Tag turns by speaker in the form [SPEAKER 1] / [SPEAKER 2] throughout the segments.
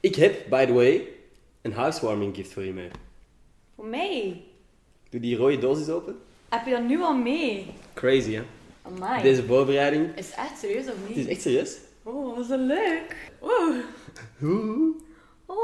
[SPEAKER 1] Ik heb, by the way, een housewarming gift voor je mee.
[SPEAKER 2] Voor mij?
[SPEAKER 1] Doe die rode doos eens open.
[SPEAKER 2] Heb je dat nu al mee?
[SPEAKER 1] Crazy, hè?
[SPEAKER 2] Amai.
[SPEAKER 1] Deze voorbereiding.
[SPEAKER 2] Is het echt serieus of
[SPEAKER 1] Het
[SPEAKER 2] niet?
[SPEAKER 1] is echt serieus.
[SPEAKER 2] Oh, wat is dat leuk. Oeh. Oh.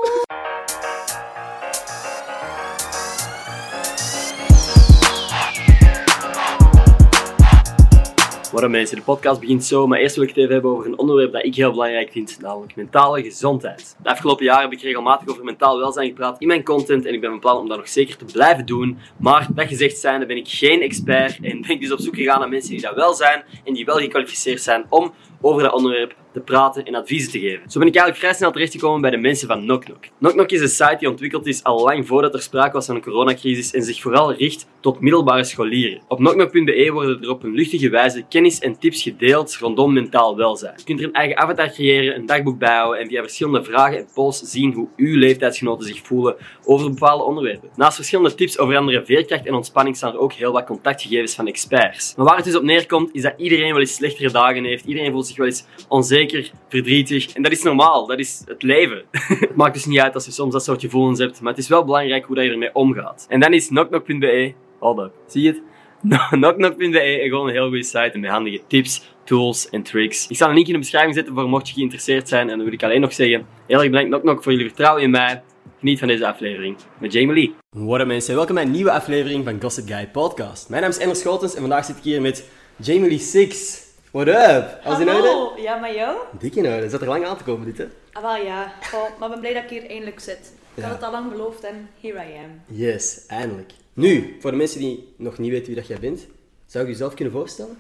[SPEAKER 1] Waarom mensen, de podcast begint zo, maar eerst wil ik het even hebben over een onderwerp dat ik heel belangrijk vind, namelijk mentale gezondheid. De afgelopen jaren heb ik regelmatig over mentaal welzijn gepraat in mijn content en ik ben van plan om dat nog zeker te blijven doen. Maar dat gezegd zijnde ben ik geen expert en ben ik dus op zoek gegaan naar mensen die dat wel zijn en die wel gekwalificeerd zijn om over dat onderwerp te praten en adviezen te geven. Zo ben ik eigenlijk vrij snel terechtgekomen bij de mensen van Knock Knock. Knock Knock is een site die ontwikkeld is al lang voordat er sprake was van een coronacrisis en zich vooral richt tot middelbare scholieren. Op knockknok.be worden er op een luchtige wijze kennis en tips gedeeld rondom mentaal welzijn. Je kunt er een eigen avatar creëren, een dagboek bijhouden en via verschillende vragen en polls zien hoe uw leeftijdsgenoten zich voelen over bepaalde onderwerpen. Naast verschillende tips over andere veerkracht en ontspanning staan er ook heel wat contactgegevens van experts. Maar waar het dus op neerkomt is dat iedereen wel eens slechtere dagen heeft, iedereen voelt zich wel eens onzeker, verdrietig en dat is normaal, dat is het leven. Het maakt dus niet uit als je soms dat soort gevoelens hebt, maar het is wel belangrijk hoe dat je ermee omgaat. En dan is knockknok.be, hold up, zie je het? Knockknok.be is gewoon een heel goede site en met handige tips, tools en tricks. Ik zal een link in de beschrijving zetten voor mocht je geïnteresseerd zijn. En dan wil ik alleen nog zeggen, heel erg bedankt Knockknok voor jullie vertrouwen in mij. Geniet van deze aflevering met Jamie Lee. What up mensen, welkom bij een nieuwe aflevering van Gossip Guy Podcast. Mijn naam is Ender Schotens en vandaag zit ik hier met Jamie Lee Six. What up? Alles in orde?
[SPEAKER 2] Hallo. Ja, maar jou?
[SPEAKER 1] Dik in orde, nou, zat er lang aan te komen dit hè?
[SPEAKER 2] Ah, wel ja. Goh, maar ik ben blij dat ik hier eindelijk zit.
[SPEAKER 1] Ja.
[SPEAKER 2] Ik had het al lang beloofd en here I am.
[SPEAKER 1] Yes, eindelijk. Nu, voor de mensen die nog niet weten wie dat jij bent, zou je jezelf kunnen voorstellen?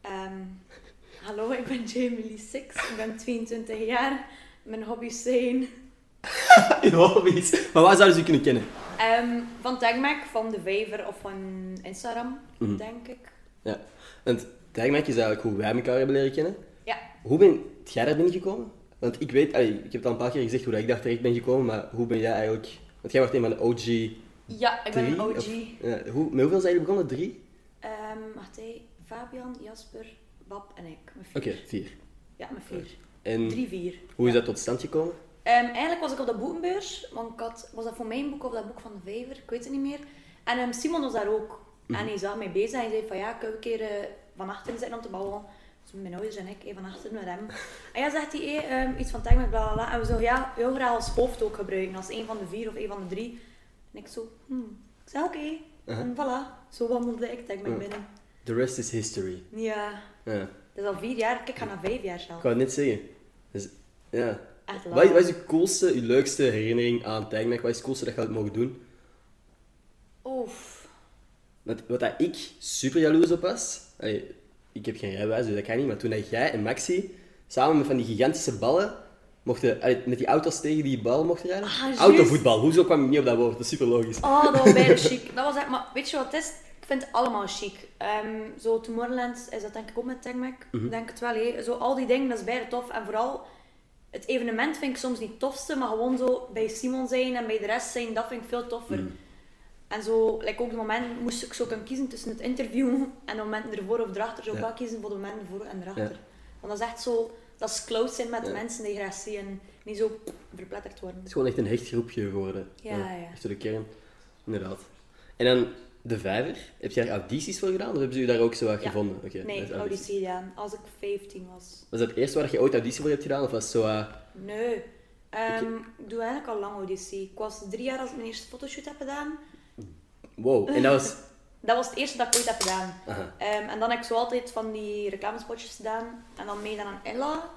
[SPEAKER 2] Ehm, hallo, ik ben Jamie Lee Six. Ik ben 22 jaar. Mijn hobby's zijn
[SPEAKER 1] Je hobby's. Maar waar zouden ze je kunnen kennen?
[SPEAKER 2] ehm, van Tagmac, van de Vijver of van Instagram,
[SPEAKER 1] Mhm.
[SPEAKER 2] denk ik.
[SPEAKER 1] Ja. Want Tagmac is eigenlijk hoe wij elkaar hebben leren kennen.
[SPEAKER 2] Ja,
[SPEAKER 1] Hoe ben jij daar binnengekomen? Want ik weet, allee, ik heb het al een paar keer gezegd hoe dat ik daar terecht ben gekomen, maar hoe ben jij eigenlijk... Want jij wordt een van de OG... Drie,
[SPEAKER 2] ja ik ben een OG.
[SPEAKER 1] of- ja, hoe, met hoeveel zijn jullie begonnen? Drie?
[SPEAKER 2] Ehm, wacht hé. Fabian, Jasper, Bab en ik. Met vier.
[SPEAKER 1] Oké, vier.
[SPEAKER 2] Ja, met vier.
[SPEAKER 1] En
[SPEAKER 2] Drie, vier.
[SPEAKER 1] hoe is dat tot stand gekomen?
[SPEAKER 2] Ehm, eigenlijk was ik op de boekenbeurs, want ik had, was dat voor mijn boek of dat boek van de Vijver, ik weet het niet meer. En ehm, Simon was daar ook.
[SPEAKER 1] Mhm.
[SPEAKER 2] En hij zag mij bezig en hij zei van ja, kunnen we een keer eh, van achteren zitten om te babbelen. Dus mijn ouders en ik, eh, van achteren met hem. En ja, zegt hij, eh, ehm, iets van tag met bla bla bla. En we zouden ja, heel graag als hoofd ook gebruiken, als een van de vier of een van de drie. En ik zo, hmm. Ik zei oké,
[SPEAKER 1] Uh-huh.
[SPEAKER 2] en voilà. Zo wandelde ik tag met
[SPEAKER 1] Ja.
[SPEAKER 2] binnen.
[SPEAKER 1] The rest is history.
[SPEAKER 2] Ja,
[SPEAKER 1] Ja.
[SPEAKER 2] dat is al vier jaar, kijk, ik ga naar vijf jaar zelf.
[SPEAKER 1] Ik wou het net zeggen. Dus, ja.
[SPEAKER 2] Echt
[SPEAKER 1] Wat is,
[SPEAKER 2] lang.
[SPEAKER 1] wat is je coolste, je leukste herinnering aan Tijgmerk? Wat is het coolste dat je had mogen doen?
[SPEAKER 2] Oef.
[SPEAKER 1] Wat, wat dat ik super jaloers op was... allee, ik heb geen rijbewijs, dus dat kan niet. Maar toen dat jij en Maxi samen met van die gigantische ballen... Mochten, allee, met die auto's tegen die bal mochten rijden.
[SPEAKER 2] Ah, juist.
[SPEAKER 1] Autovoetbal, hoezo kwam ik niet op dat woord? Dat is super logisch.
[SPEAKER 2] Oh, dat was bijna chic. Dat was echt, maar weet je wat het is? Ik vind het allemaal chic. Ehm, zo Tomorrowland is dat denk ik ook met Tagmac.
[SPEAKER 1] Mhm.
[SPEAKER 2] Denk het wel, hè. Zo al die dingen, dat is bijna tof. En vooral, het evenement vind ik soms niet het tofste, maar gewoon zo bij Simon zijn en bij de rest zijn, dat vind ik veel toffer.
[SPEAKER 1] Mhm.
[SPEAKER 2] En zo, like ook het moment moest ik zo kunnen kiezen tussen het interview en de momenten ervoor of erachter. Zo
[SPEAKER 1] Ja.
[SPEAKER 2] ik wel kiezen voor de momenten ervoor en erachter.
[SPEAKER 1] Ja.
[SPEAKER 2] Want dat is echt zo, dat is close zijn met de
[SPEAKER 1] Ja.
[SPEAKER 2] mensen die je graag ziet en niet zo verpletterd worden.
[SPEAKER 1] Het is gewoon echt een hecht groepje geworden.
[SPEAKER 2] Ja, ja.
[SPEAKER 1] Echt door de kern. Inderdaad. En dan de vijver. Heb je daar audities voor gedaan? Of hebben ze je daar ook zo wat
[SPEAKER 2] Ja.
[SPEAKER 1] gevonden? Oké, dat is
[SPEAKER 2] Nee, auditie gedaan. Als ik 15 was.
[SPEAKER 1] Was dat het eerste waar je ooit auditie voor hebt gedaan? Of was het zo... eh,
[SPEAKER 2] Nee. Ehm, Ik doe eigenlijk al lang auditie. Ik was drie jaar als ik mijn eerste fotoshoot heb gedaan.
[SPEAKER 1] Wow, en dat was...
[SPEAKER 2] Dat was het eerste dat ik ooit heb gedaan.
[SPEAKER 1] Aha.
[SPEAKER 2] Ehm, en dan heb ik zo altijd van die reclamespotjes gedaan. En dan meedaan aan Ella.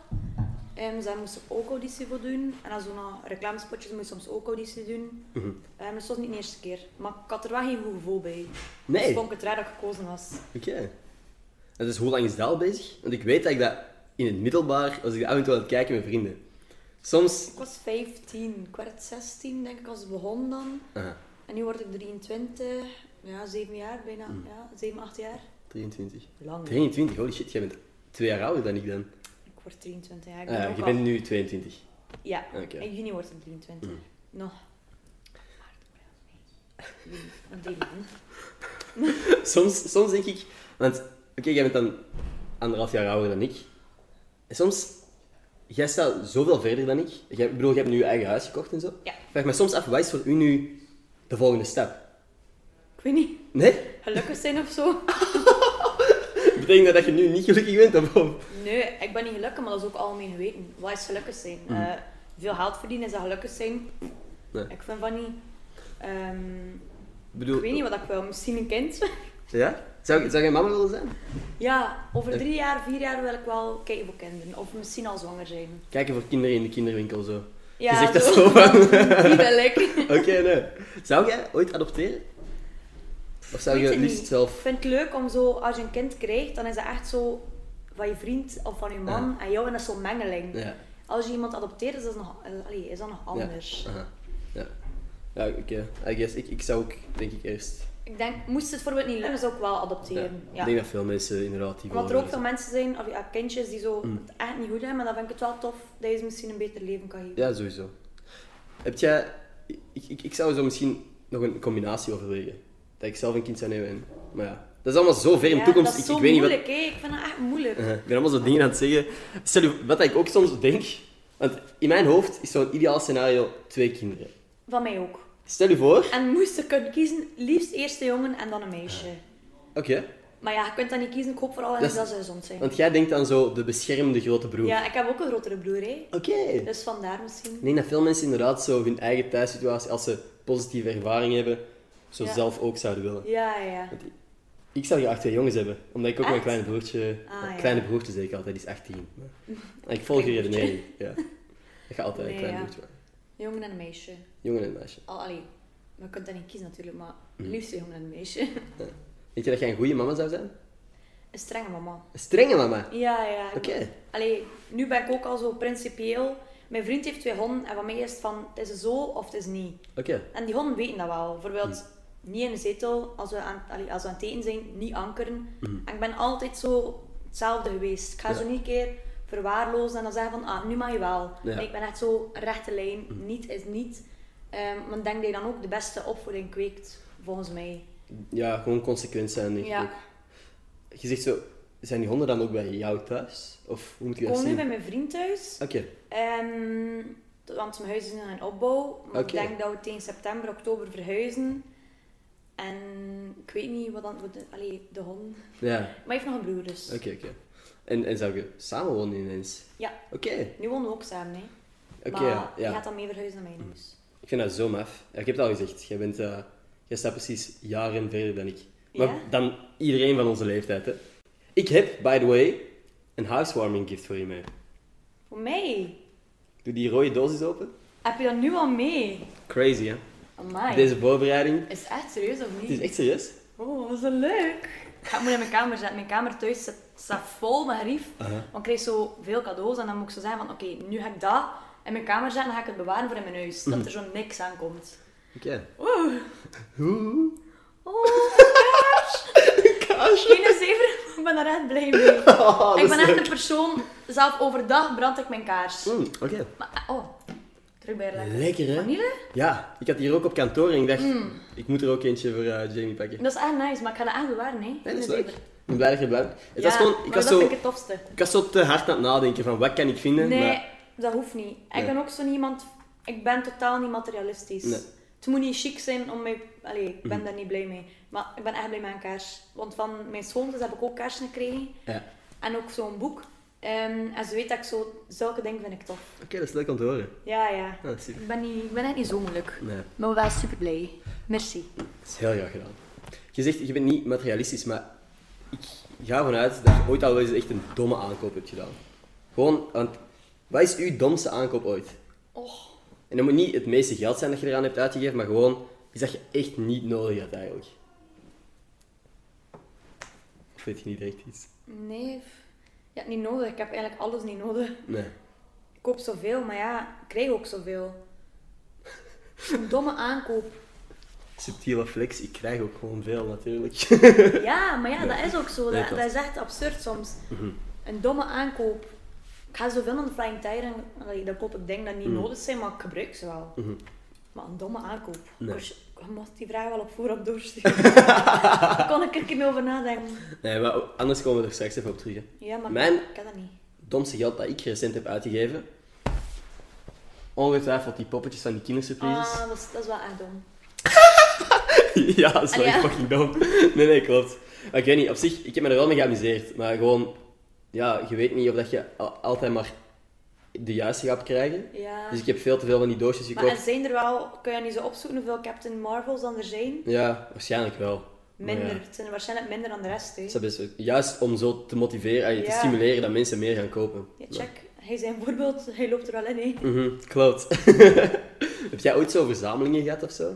[SPEAKER 2] Ehm zij moest er ook auditie voor doen. En dan zo'n reclamespotjes moest je soms ook auditie doen.
[SPEAKER 1] Mhm.
[SPEAKER 2] Ehm, dat was niet de eerste keer. Maar ik had er wel geen goed gevoel bij.
[SPEAKER 1] Nee.
[SPEAKER 2] Dus vond ik het raar dat ik gekozen was.
[SPEAKER 1] Oké. En dus hoe lang is dat al bezig? Want ik weet dat ik dat in het middelbaar, als ik dat af en toe aan het kijken met vrienden. Soms...
[SPEAKER 2] Ik was 15. Ik werd 16 denk ik als het begon dan.
[SPEAKER 1] Aha,
[SPEAKER 2] En nu word ik 23, ja, 7 jaar bijna,
[SPEAKER 1] Hmm.
[SPEAKER 2] ja, 7, 8 jaar.
[SPEAKER 1] 23.
[SPEAKER 2] Lang.
[SPEAKER 1] 23, holy shit, jij bent twee jaar ouder dan ik dan.
[SPEAKER 2] Ik word 23 jaar. Ik
[SPEAKER 1] Ah, ja,
[SPEAKER 2] ben ook
[SPEAKER 1] je
[SPEAKER 2] al-
[SPEAKER 1] bent nu 22.
[SPEAKER 2] Ja,
[SPEAKER 1] Oké. Hmm.
[SPEAKER 2] in juni word ik 23. Nog. Juni, want die man.
[SPEAKER 1] Soms, soms denk ik... Want, oké, jij bent dan anderhalf jaar ouder dan ik. En soms...
[SPEAKER 3] jij staat zoveel verder dan ik. Jij, ik bedoel, je hebt nu je eigen huis gekocht en zo.
[SPEAKER 2] Ja.
[SPEAKER 3] Ik Vraag me soms af, wat is voor u nu de volgende stap?
[SPEAKER 2] Ik weet niet,
[SPEAKER 3] Nee?
[SPEAKER 2] gelukkig zijn of zo.
[SPEAKER 3] Betekent dat dat je nu niet gelukkig bent? Of, of-
[SPEAKER 2] Nee, ik ben niet gelukkig, maar dat is ook algemeen geweten. Wat is gelukkig zijn?
[SPEAKER 1] Hmm.
[SPEAKER 2] Eh, veel geld verdienen, is dat gelukkig zijn?
[SPEAKER 3] Nee.
[SPEAKER 2] Ik vind van niet. Ehm,
[SPEAKER 3] Ik bedoel,
[SPEAKER 2] ik weet niet wat ik wil, misschien een kind.
[SPEAKER 3] Ja? Zou, zou jij mama willen zijn?
[SPEAKER 2] ja, over
[SPEAKER 1] Eh.
[SPEAKER 3] Ik-
[SPEAKER 2] drie jaar, vier jaar wil ik wel kijken voor kinderen. Of misschien al zwanger zijn.
[SPEAKER 3] Kijken voor kinderen in de kinderwinkel zo.
[SPEAKER 2] Ja,
[SPEAKER 3] je zegt dat zo van...
[SPEAKER 2] Die wil ik.
[SPEAKER 3] Oké, nee. Zou jij ooit adopteren? Of zou
[SPEAKER 2] Weet
[SPEAKER 3] je
[SPEAKER 2] het
[SPEAKER 3] liefst
[SPEAKER 2] niet. Ik
[SPEAKER 3] zelf...
[SPEAKER 2] vind het leuk om zo, als je een kind krijgt, dan is dat echt zo van je vriend of van je man en jou en dat is zo'n mengeling.
[SPEAKER 3] Ja.
[SPEAKER 2] Als je iemand adopteert, is dat nog, eh, allee, is dat nog anders.
[SPEAKER 3] Ja, Aha. ja. ja oké. I guess. Ik, ik zou ook, denk ik, eerst...
[SPEAKER 2] Ik denk, moest het voorbeeld niet lukken, zou ik wel
[SPEAKER 3] Ja.
[SPEAKER 2] adopteren.
[SPEAKER 3] Ik
[SPEAKER 2] Ja.
[SPEAKER 3] denk dat veel mensen inderdaad die
[SPEAKER 2] Omdat er ook
[SPEAKER 3] volgen.
[SPEAKER 2] veel mensen zijn, of ja, kindjes, die zo
[SPEAKER 3] Mm.
[SPEAKER 2] het echt niet goed hebben, maar dan vind ik het wel tof dat je ze misschien een beter leven kan geven.
[SPEAKER 3] Ja, sowieso. Heb jij... Ik, ik, ik zou zo misschien nog een combinatie overwegen. Dat ik zelf een kind zou nemen en... Maar ja. Dat is allemaal zo ver in de
[SPEAKER 2] Ja,
[SPEAKER 3] toekomst.
[SPEAKER 2] Dat is
[SPEAKER 3] ik,
[SPEAKER 2] zo
[SPEAKER 3] ik weet niet wat...
[SPEAKER 2] moeilijk, hè. Ik vind dat echt moeilijk.
[SPEAKER 3] Eh, Ik ben allemaal zo dingen aan het zeggen. Stel je, wat ik ook soms denk... Want in mijn hoofd is zo'n ideaal scenario twee kinderen.
[SPEAKER 2] Van mij ook.
[SPEAKER 3] Stel je voor... Oké.
[SPEAKER 2] En moest ik kunnen kiezen, liefst eerst een jongen en dan een meisje. Maar ja, je kunt dat niet kiezen. Ik hoop vooral
[SPEAKER 3] Dat
[SPEAKER 2] dat,
[SPEAKER 3] is-
[SPEAKER 2] dat ze gezond zijn.
[SPEAKER 3] Want jij denkt aan zo de beschermde grote broer.
[SPEAKER 2] Ja, ik heb ook een grotere broer, hè.
[SPEAKER 3] Oké.
[SPEAKER 2] Dus vandaar misschien.
[SPEAKER 3] Ik denk dat veel mensen inderdaad zo hun eigen thuissituatie, als ze positieve ervaring hebben, zo
[SPEAKER 2] Ja.
[SPEAKER 3] zelf ook zouden willen.
[SPEAKER 2] Ja, ja.
[SPEAKER 3] Ik zou graag twee jongens hebben, omdat ik ook mijn
[SPEAKER 2] Echt?
[SPEAKER 3] kleine broertje...
[SPEAKER 2] Ah,
[SPEAKER 3] mijn
[SPEAKER 2] ja.
[SPEAKER 3] Kleine broertje zeg ik altijd, die is 18. Maar- Maar ik volg je
[SPEAKER 2] Klein broertje.
[SPEAKER 3] redenering. Ja. Ik ga altijd een
[SPEAKER 2] Nee,
[SPEAKER 3] klein
[SPEAKER 2] ja.
[SPEAKER 3] broertje maken.
[SPEAKER 2] Een jongen en een meisje.
[SPEAKER 3] Jongen en meisje.
[SPEAKER 2] Al, allee, maar je kunt dat niet kiezen natuurlijk, maar
[SPEAKER 3] Mm.
[SPEAKER 2] liefst een jongen en een meisje.
[SPEAKER 3] Denk je dat jij een goede mama zou zijn?
[SPEAKER 2] Een strenge mama.
[SPEAKER 3] Een strenge mama.
[SPEAKER 2] Ja, ja.
[SPEAKER 3] Oké.
[SPEAKER 2] Allee, nu ben ik ook al zo principieel. Mijn vriend heeft twee honden en van mij is het van, het is zo of het is niet.
[SPEAKER 3] Oké.
[SPEAKER 2] En die honden weten dat wel. Bijvoorbeeld,
[SPEAKER 3] Mm.
[SPEAKER 2] niet in de zetel, als we aan, allee, als we aan het eten zijn, niet ankeren. En ik ben altijd zo hetzelfde geweest. Ik ga
[SPEAKER 3] Mm. Ja.
[SPEAKER 2] zo niet een keer verwaarlozen en dan zeggen van, ah, nu mag je wel.
[SPEAKER 3] Ja. Mm.
[SPEAKER 2] Nee, ik ben echt zo rechte lijn, niet is niet. Ehm, maar ik denk dat je dan ook de beste opvoeding kweekt, volgens mij.
[SPEAKER 3] Ja, gewoon consequent zijn, denk ik
[SPEAKER 2] Ja.
[SPEAKER 3] ook. Je zegt zo, zijn die honden dan ook bij jou thuis? Of hoe moet ik
[SPEAKER 2] Ik
[SPEAKER 3] dat
[SPEAKER 2] woon nu
[SPEAKER 3] zien?
[SPEAKER 2] bij mijn vriend thuis.
[SPEAKER 3] Oké.
[SPEAKER 2] Ehm, t- want mijn huis is nog in opbouw. Maar
[SPEAKER 3] Oké.
[SPEAKER 2] ik denk dat we tegen september, oktober verhuizen. En ik weet niet wat dan... Wat de, allee, de hond.
[SPEAKER 3] Ja.
[SPEAKER 2] Maar hij heeft nog een broer dus.
[SPEAKER 3] Oké, oké. En, en zou je samen wonen ineens?
[SPEAKER 2] Ja,
[SPEAKER 3] Oké.
[SPEAKER 2] nu wonen we ook samen. Hè.
[SPEAKER 3] Oké,
[SPEAKER 2] maar
[SPEAKER 3] ja. Mm.
[SPEAKER 2] hij gaat dan mee verhuizen naar dus. mijn huis.
[SPEAKER 3] Ik vind dat zo maf. Ja, ik heb het al gezegd. Jij, bent, eh, jij staat precies jaren verder dan ik. Maar
[SPEAKER 2] Ja?
[SPEAKER 3] dan iedereen van onze leeftijd, hè. Ik heb, by the way, een housewarming gift voor je mee.
[SPEAKER 2] Voor mij?
[SPEAKER 3] Doe die rode doos eens open.
[SPEAKER 2] Heb je dat nu al mee?
[SPEAKER 3] Crazy, hè?
[SPEAKER 2] Amai.
[SPEAKER 3] Deze voorbereiding.
[SPEAKER 2] Is het echt serieus of
[SPEAKER 3] Het is
[SPEAKER 2] niet?
[SPEAKER 3] echt serieus.
[SPEAKER 2] Oh, wat is dat leuk. Ik ga het moet in mijn kamer zetten. Mijn kamer thuis zit- staat vol met gerief. Want ik krijg zo veel cadeaus en dan moet ik zo zeggen van oké, nu ga ik dat in mijn kamer zetten en dan ga ik het bewaren voor in mijn huis.
[SPEAKER 3] Mhm.
[SPEAKER 2] Dat er zo niks aan komt.
[SPEAKER 3] Oké.
[SPEAKER 2] Oeh.
[SPEAKER 3] Oeh.
[SPEAKER 2] Oh, kaars. Geen zever, ik ben daar echt blij mee.
[SPEAKER 3] Oh,
[SPEAKER 2] ik ben
[SPEAKER 3] dat is
[SPEAKER 2] echt
[SPEAKER 3] leuk.
[SPEAKER 2] een persoon, zelf overdag brand ik mijn kaars.
[SPEAKER 3] Mm, Oké.
[SPEAKER 2] Maar, eh, oh, terug bij lekker.
[SPEAKER 3] Lekker, hè?
[SPEAKER 2] Vanille?
[SPEAKER 3] Ja, ik had hier ook op kantoor en ik dacht,
[SPEAKER 2] Mm.
[SPEAKER 3] ik moet er ook eentje voor eh, Jamie pakken.
[SPEAKER 2] Dat is echt nice, maar ik ga dat echt bewaren, hè.
[SPEAKER 3] Nee, dat is
[SPEAKER 2] In de
[SPEAKER 3] leuk.
[SPEAKER 2] zever.
[SPEAKER 3] Ik ben blij dat je blij bent. Het
[SPEAKER 2] Ja,
[SPEAKER 3] was gewoon, ik
[SPEAKER 2] maar
[SPEAKER 3] was,
[SPEAKER 2] dat
[SPEAKER 3] zo,
[SPEAKER 2] vind ik het tofste.
[SPEAKER 3] ik was zo te hard aan het nadenken van wat kan ik vinden.
[SPEAKER 2] Nee,
[SPEAKER 3] Maar,
[SPEAKER 2] dat hoeft niet.
[SPEAKER 3] Nee.
[SPEAKER 2] Ik ben ook zo niemand. Ik ben totaal niet materialistisch.
[SPEAKER 3] Nee. Mhm.
[SPEAKER 2] Het moet niet chic zijn om mij. Allee, ik ben daar niet blij mee. Maar ik ben echt blij met een kaars. Want van mijn schoonzus heb ik ook kaarsen gekregen.
[SPEAKER 3] ja.
[SPEAKER 2] En ook zo'n boek. Ehm, en ze weet dat ik zo. Zulke dingen vind ik tof.
[SPEAKER 3] Oké, dat is leuk om te horen.
[SPEAKER 2] Ja, ja.
[SPEAKER 3] Ja, super.
[SPEAKER 2] Ik ben, niet, ik ben echt niet zo moeilijk.
[SPEAKER 3] Nee,
[SPEAKER 2] Maar wel super blij. Merci.
[SPEAKER 3] dat is heel graag gedaan. Je zegt, je bent niet materialistisch, maar ik ga ervan uit dat je ooit al wel eens echt een domme aankoop hebt gedaan. Gewoon, want wat is uw domste aankoop ooit?
[SPEAKER 2] Och.
[SPEAKER 3] En dat moet niet het meeste geld zijn dat je eraan hebt uitgegeven, maar gewoon iets dat je echt niet nodig had eigenlijk. Of weet je niet echt iets?
[SPEAKER 2] Nee. f- Ja, niet nodig. Ik heb eigenlijk alles niet nodig.
[SPEAKER 3] Nee.
[SPEAKER 2] Ik koop zoveel, maar ja, ik krijg ook zoveel. Een domme aankoop.
[SPEAKER 3] Subtiele flex, ik krijg ook gewoon veel natuurlijk.
[SPEAKER 2] Ja, maar ja, dat is ook zo.
[SPEAKER 3] Nee,
[SPEAKER 2] Dat,
[SPEAKER 3] klopt. Mhm.
[SPEAKER 2] dat is echt absurd soms. Een domme aankoop. Ik ga zoveel aan de Flying Tiger en allee, dan koop ik dingen die niet
[SPEAKER 3] Mhm.
[SPEAKER 2] nodig zijn, maar ik gebruik ze wel. Maar een domme aankoop.
[SPEAKER 3] Nee.
[SPEAKER 2] Ik was- Ik mocht die vraag wel op voorop doorsturen. Daar kon ik er een keer mee over nadenken.
[SPEAKER 3] Nee, maar anders komen we er straks even op terug. hè.
[SPEAKER 2] Ja, maar
[SPEAKER 3] Mijn-
[SPEAKER 2] ik kan dat niet.
[SPEAKER 3] domste geld dat ik recent heb uitgegeven. Ongetwijfeld die poppetjes van die kindersurprises.
[SPEAKER 2] Ah, dat is, dat is wel echt dom.
[SPEAKER 3] ja, dat is wel
[SPEAKER 2] Allee,
[SPEAKER 3] echt
[SPEAKER 2] ja.
[SPEAKER 3] fucking dom. Nee, nee, klopt. Maar ik weet niet, op zich, ik heb me er wel mee geamuseerd. Maar gewoon, ja, je weet niet of dat je al- altijd maar de juiste gaat krijgen.
[SPEAKER 2] Ja.
[SPEAKER 3] Dus ik heb veel te veel van die doosjes
[SPEAKER 2] Maar er
[SPEAKER 3] gekocht.
[SPEAKER 2] zijn er wel, kun je niet zo opzoeken hoeveel Captain Marvels dan er zijn?
[SPEAKER 3] Ja, waarschijnlijk wel. Maar
[SPEAKER 2] Minder.
[SPEAKER 3] ja.
[SPEAKER 2] Het zijn er waarschijnlijk minder dan de rest. Hè.
[SPEAKER 3] Dat is best- Juist om zo te motiveren en te
[SPEAKER 2] Ja.
[SPEAKER 3] stimuleren dat mensen meer gaan kopen.
[SPEAKER 2] Ja, check. Hij zijn voorbeeld, hij loopt er wel in. Hè.
[SPEAKER 3] Mhm, klopt. Heb jij ooit zo verzamelingen gehad of zo?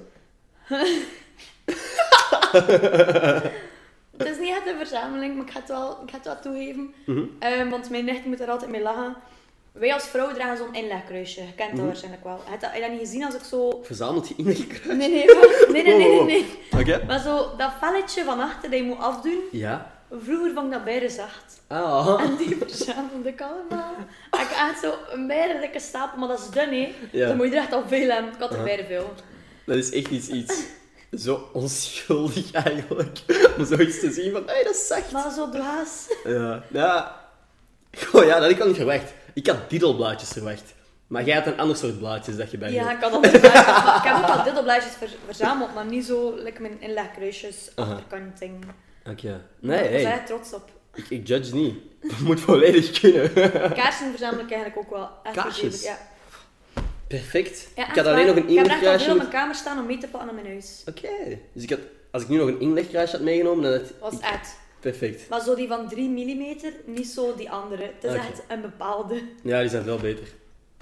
[SPEAKER 2] Het is niet echt een verzameling, maar ik ga het wel, ik ga het wel toegeven.
[SPEAKER 3] Mhm.
[SPEAKER 2] Ehm, want mijn nicht moet er altijd mee lachen. Wij als vrouw dragen zo'n inlegkruisje. Je kent dat
[SPEAKER 3] Mhm.
[SPEAKER 2] waarschijnlijk wel. Heb je dat, heb je dat niet gezien als ik zo...
[SPEAKER 3] Verzamelt je in de
[SPEAKER 2] Nee, nee, wacht. nee, nee, nee, nee, nee.
[SPEAKER 3] Oké.
[SPEAKER 2] Maar zo dat velletje van achter dat je moet afdoen.
[SPEAKER 3] Ja.
[SPEAKER 2] Vroeger vond ik dat bijna zacht.
[SPEAKER 3] Ah.
[SPEAKER 2] En die verzamelde ik allemaal. Ik had echt zo een bijna dikke stapel, maar dat is dun hè.
[SPEAKER 3] Ja.
[SPEAKER 2] Dan moet je er echt al veel hebben. Ik had er bijna veel.
[SPEAKER 3] Dat is echt iets, iets zo onschuldig eigenlijk. Om zoiets te zien van, hé, hey, dat is zacht.
[SPEAKER 2] Maar zo dwaas.
[SPEAKER 3] Ja. Ja. Goh, ja, dat had ik al niet verwacht. Ik had diddelblaadjes verwacht. Maar jij had een ander soort blaadjes dat je bij je
[SPEAKER 2] Ja,
[SPEAKER 3] hebt.
[SPEAKER 2] ik had andere blaadjes. ik heb ook al diddelblaadjes ver- verzameld, maar niet zo lekker mijn inlegkruisjes,
[SPEAKER 3] Aha.
[SPEAKER 2] achterkanting.
[SPEAKER 3] Oké. Nee,
[SPEAKER 2] Ik was
[SPEAKER 3] hey,
[SPEAKER 2] echt trots op.
[SPEAKER 3] ik, ik judge niet. Dat moet volledig kunnen.
[SPEAKER 2] Kaarsen verzamel ik eigenlijk ook wel. Echt
[SPEAKER 3] Kaarsjes?
[SPEAKER 2] vergeven, Ja.
[SPEAKER 3] Perfect.
[SPEAKER 2] Ja,
[SPEAKER 3] ik
[SPEAKER 2] echt
[SPEAKER 3] had alleen
[SPEAKER 2] waar.
[SPEAKER 3] nog een
[SPEAKER 2] Ik heb er echt al
[SPEAKER 3] inlegkruisje.
[SPEAKER 2] veel op mijn kamer staan om mee te pakken aan mijn huis.
[SPEAKER 3] Oké. Dus ik had, als ik nu nog een inlegkruisje had meegenomen, dan had
[SPEAKER 2] Was
[SPEAKER 3] ik-
[SPEAKER 2] echt.
[SPEAKER 3] Perfect.
[SPEAKER 2] Maar zo die van 3 mm, niet zo die andere. Het is
[SPEAKER 3] Oké.
[SPEAKER 2] echt een bepaalde.
[SPEAKER 3] Ja, die zijn veel beter.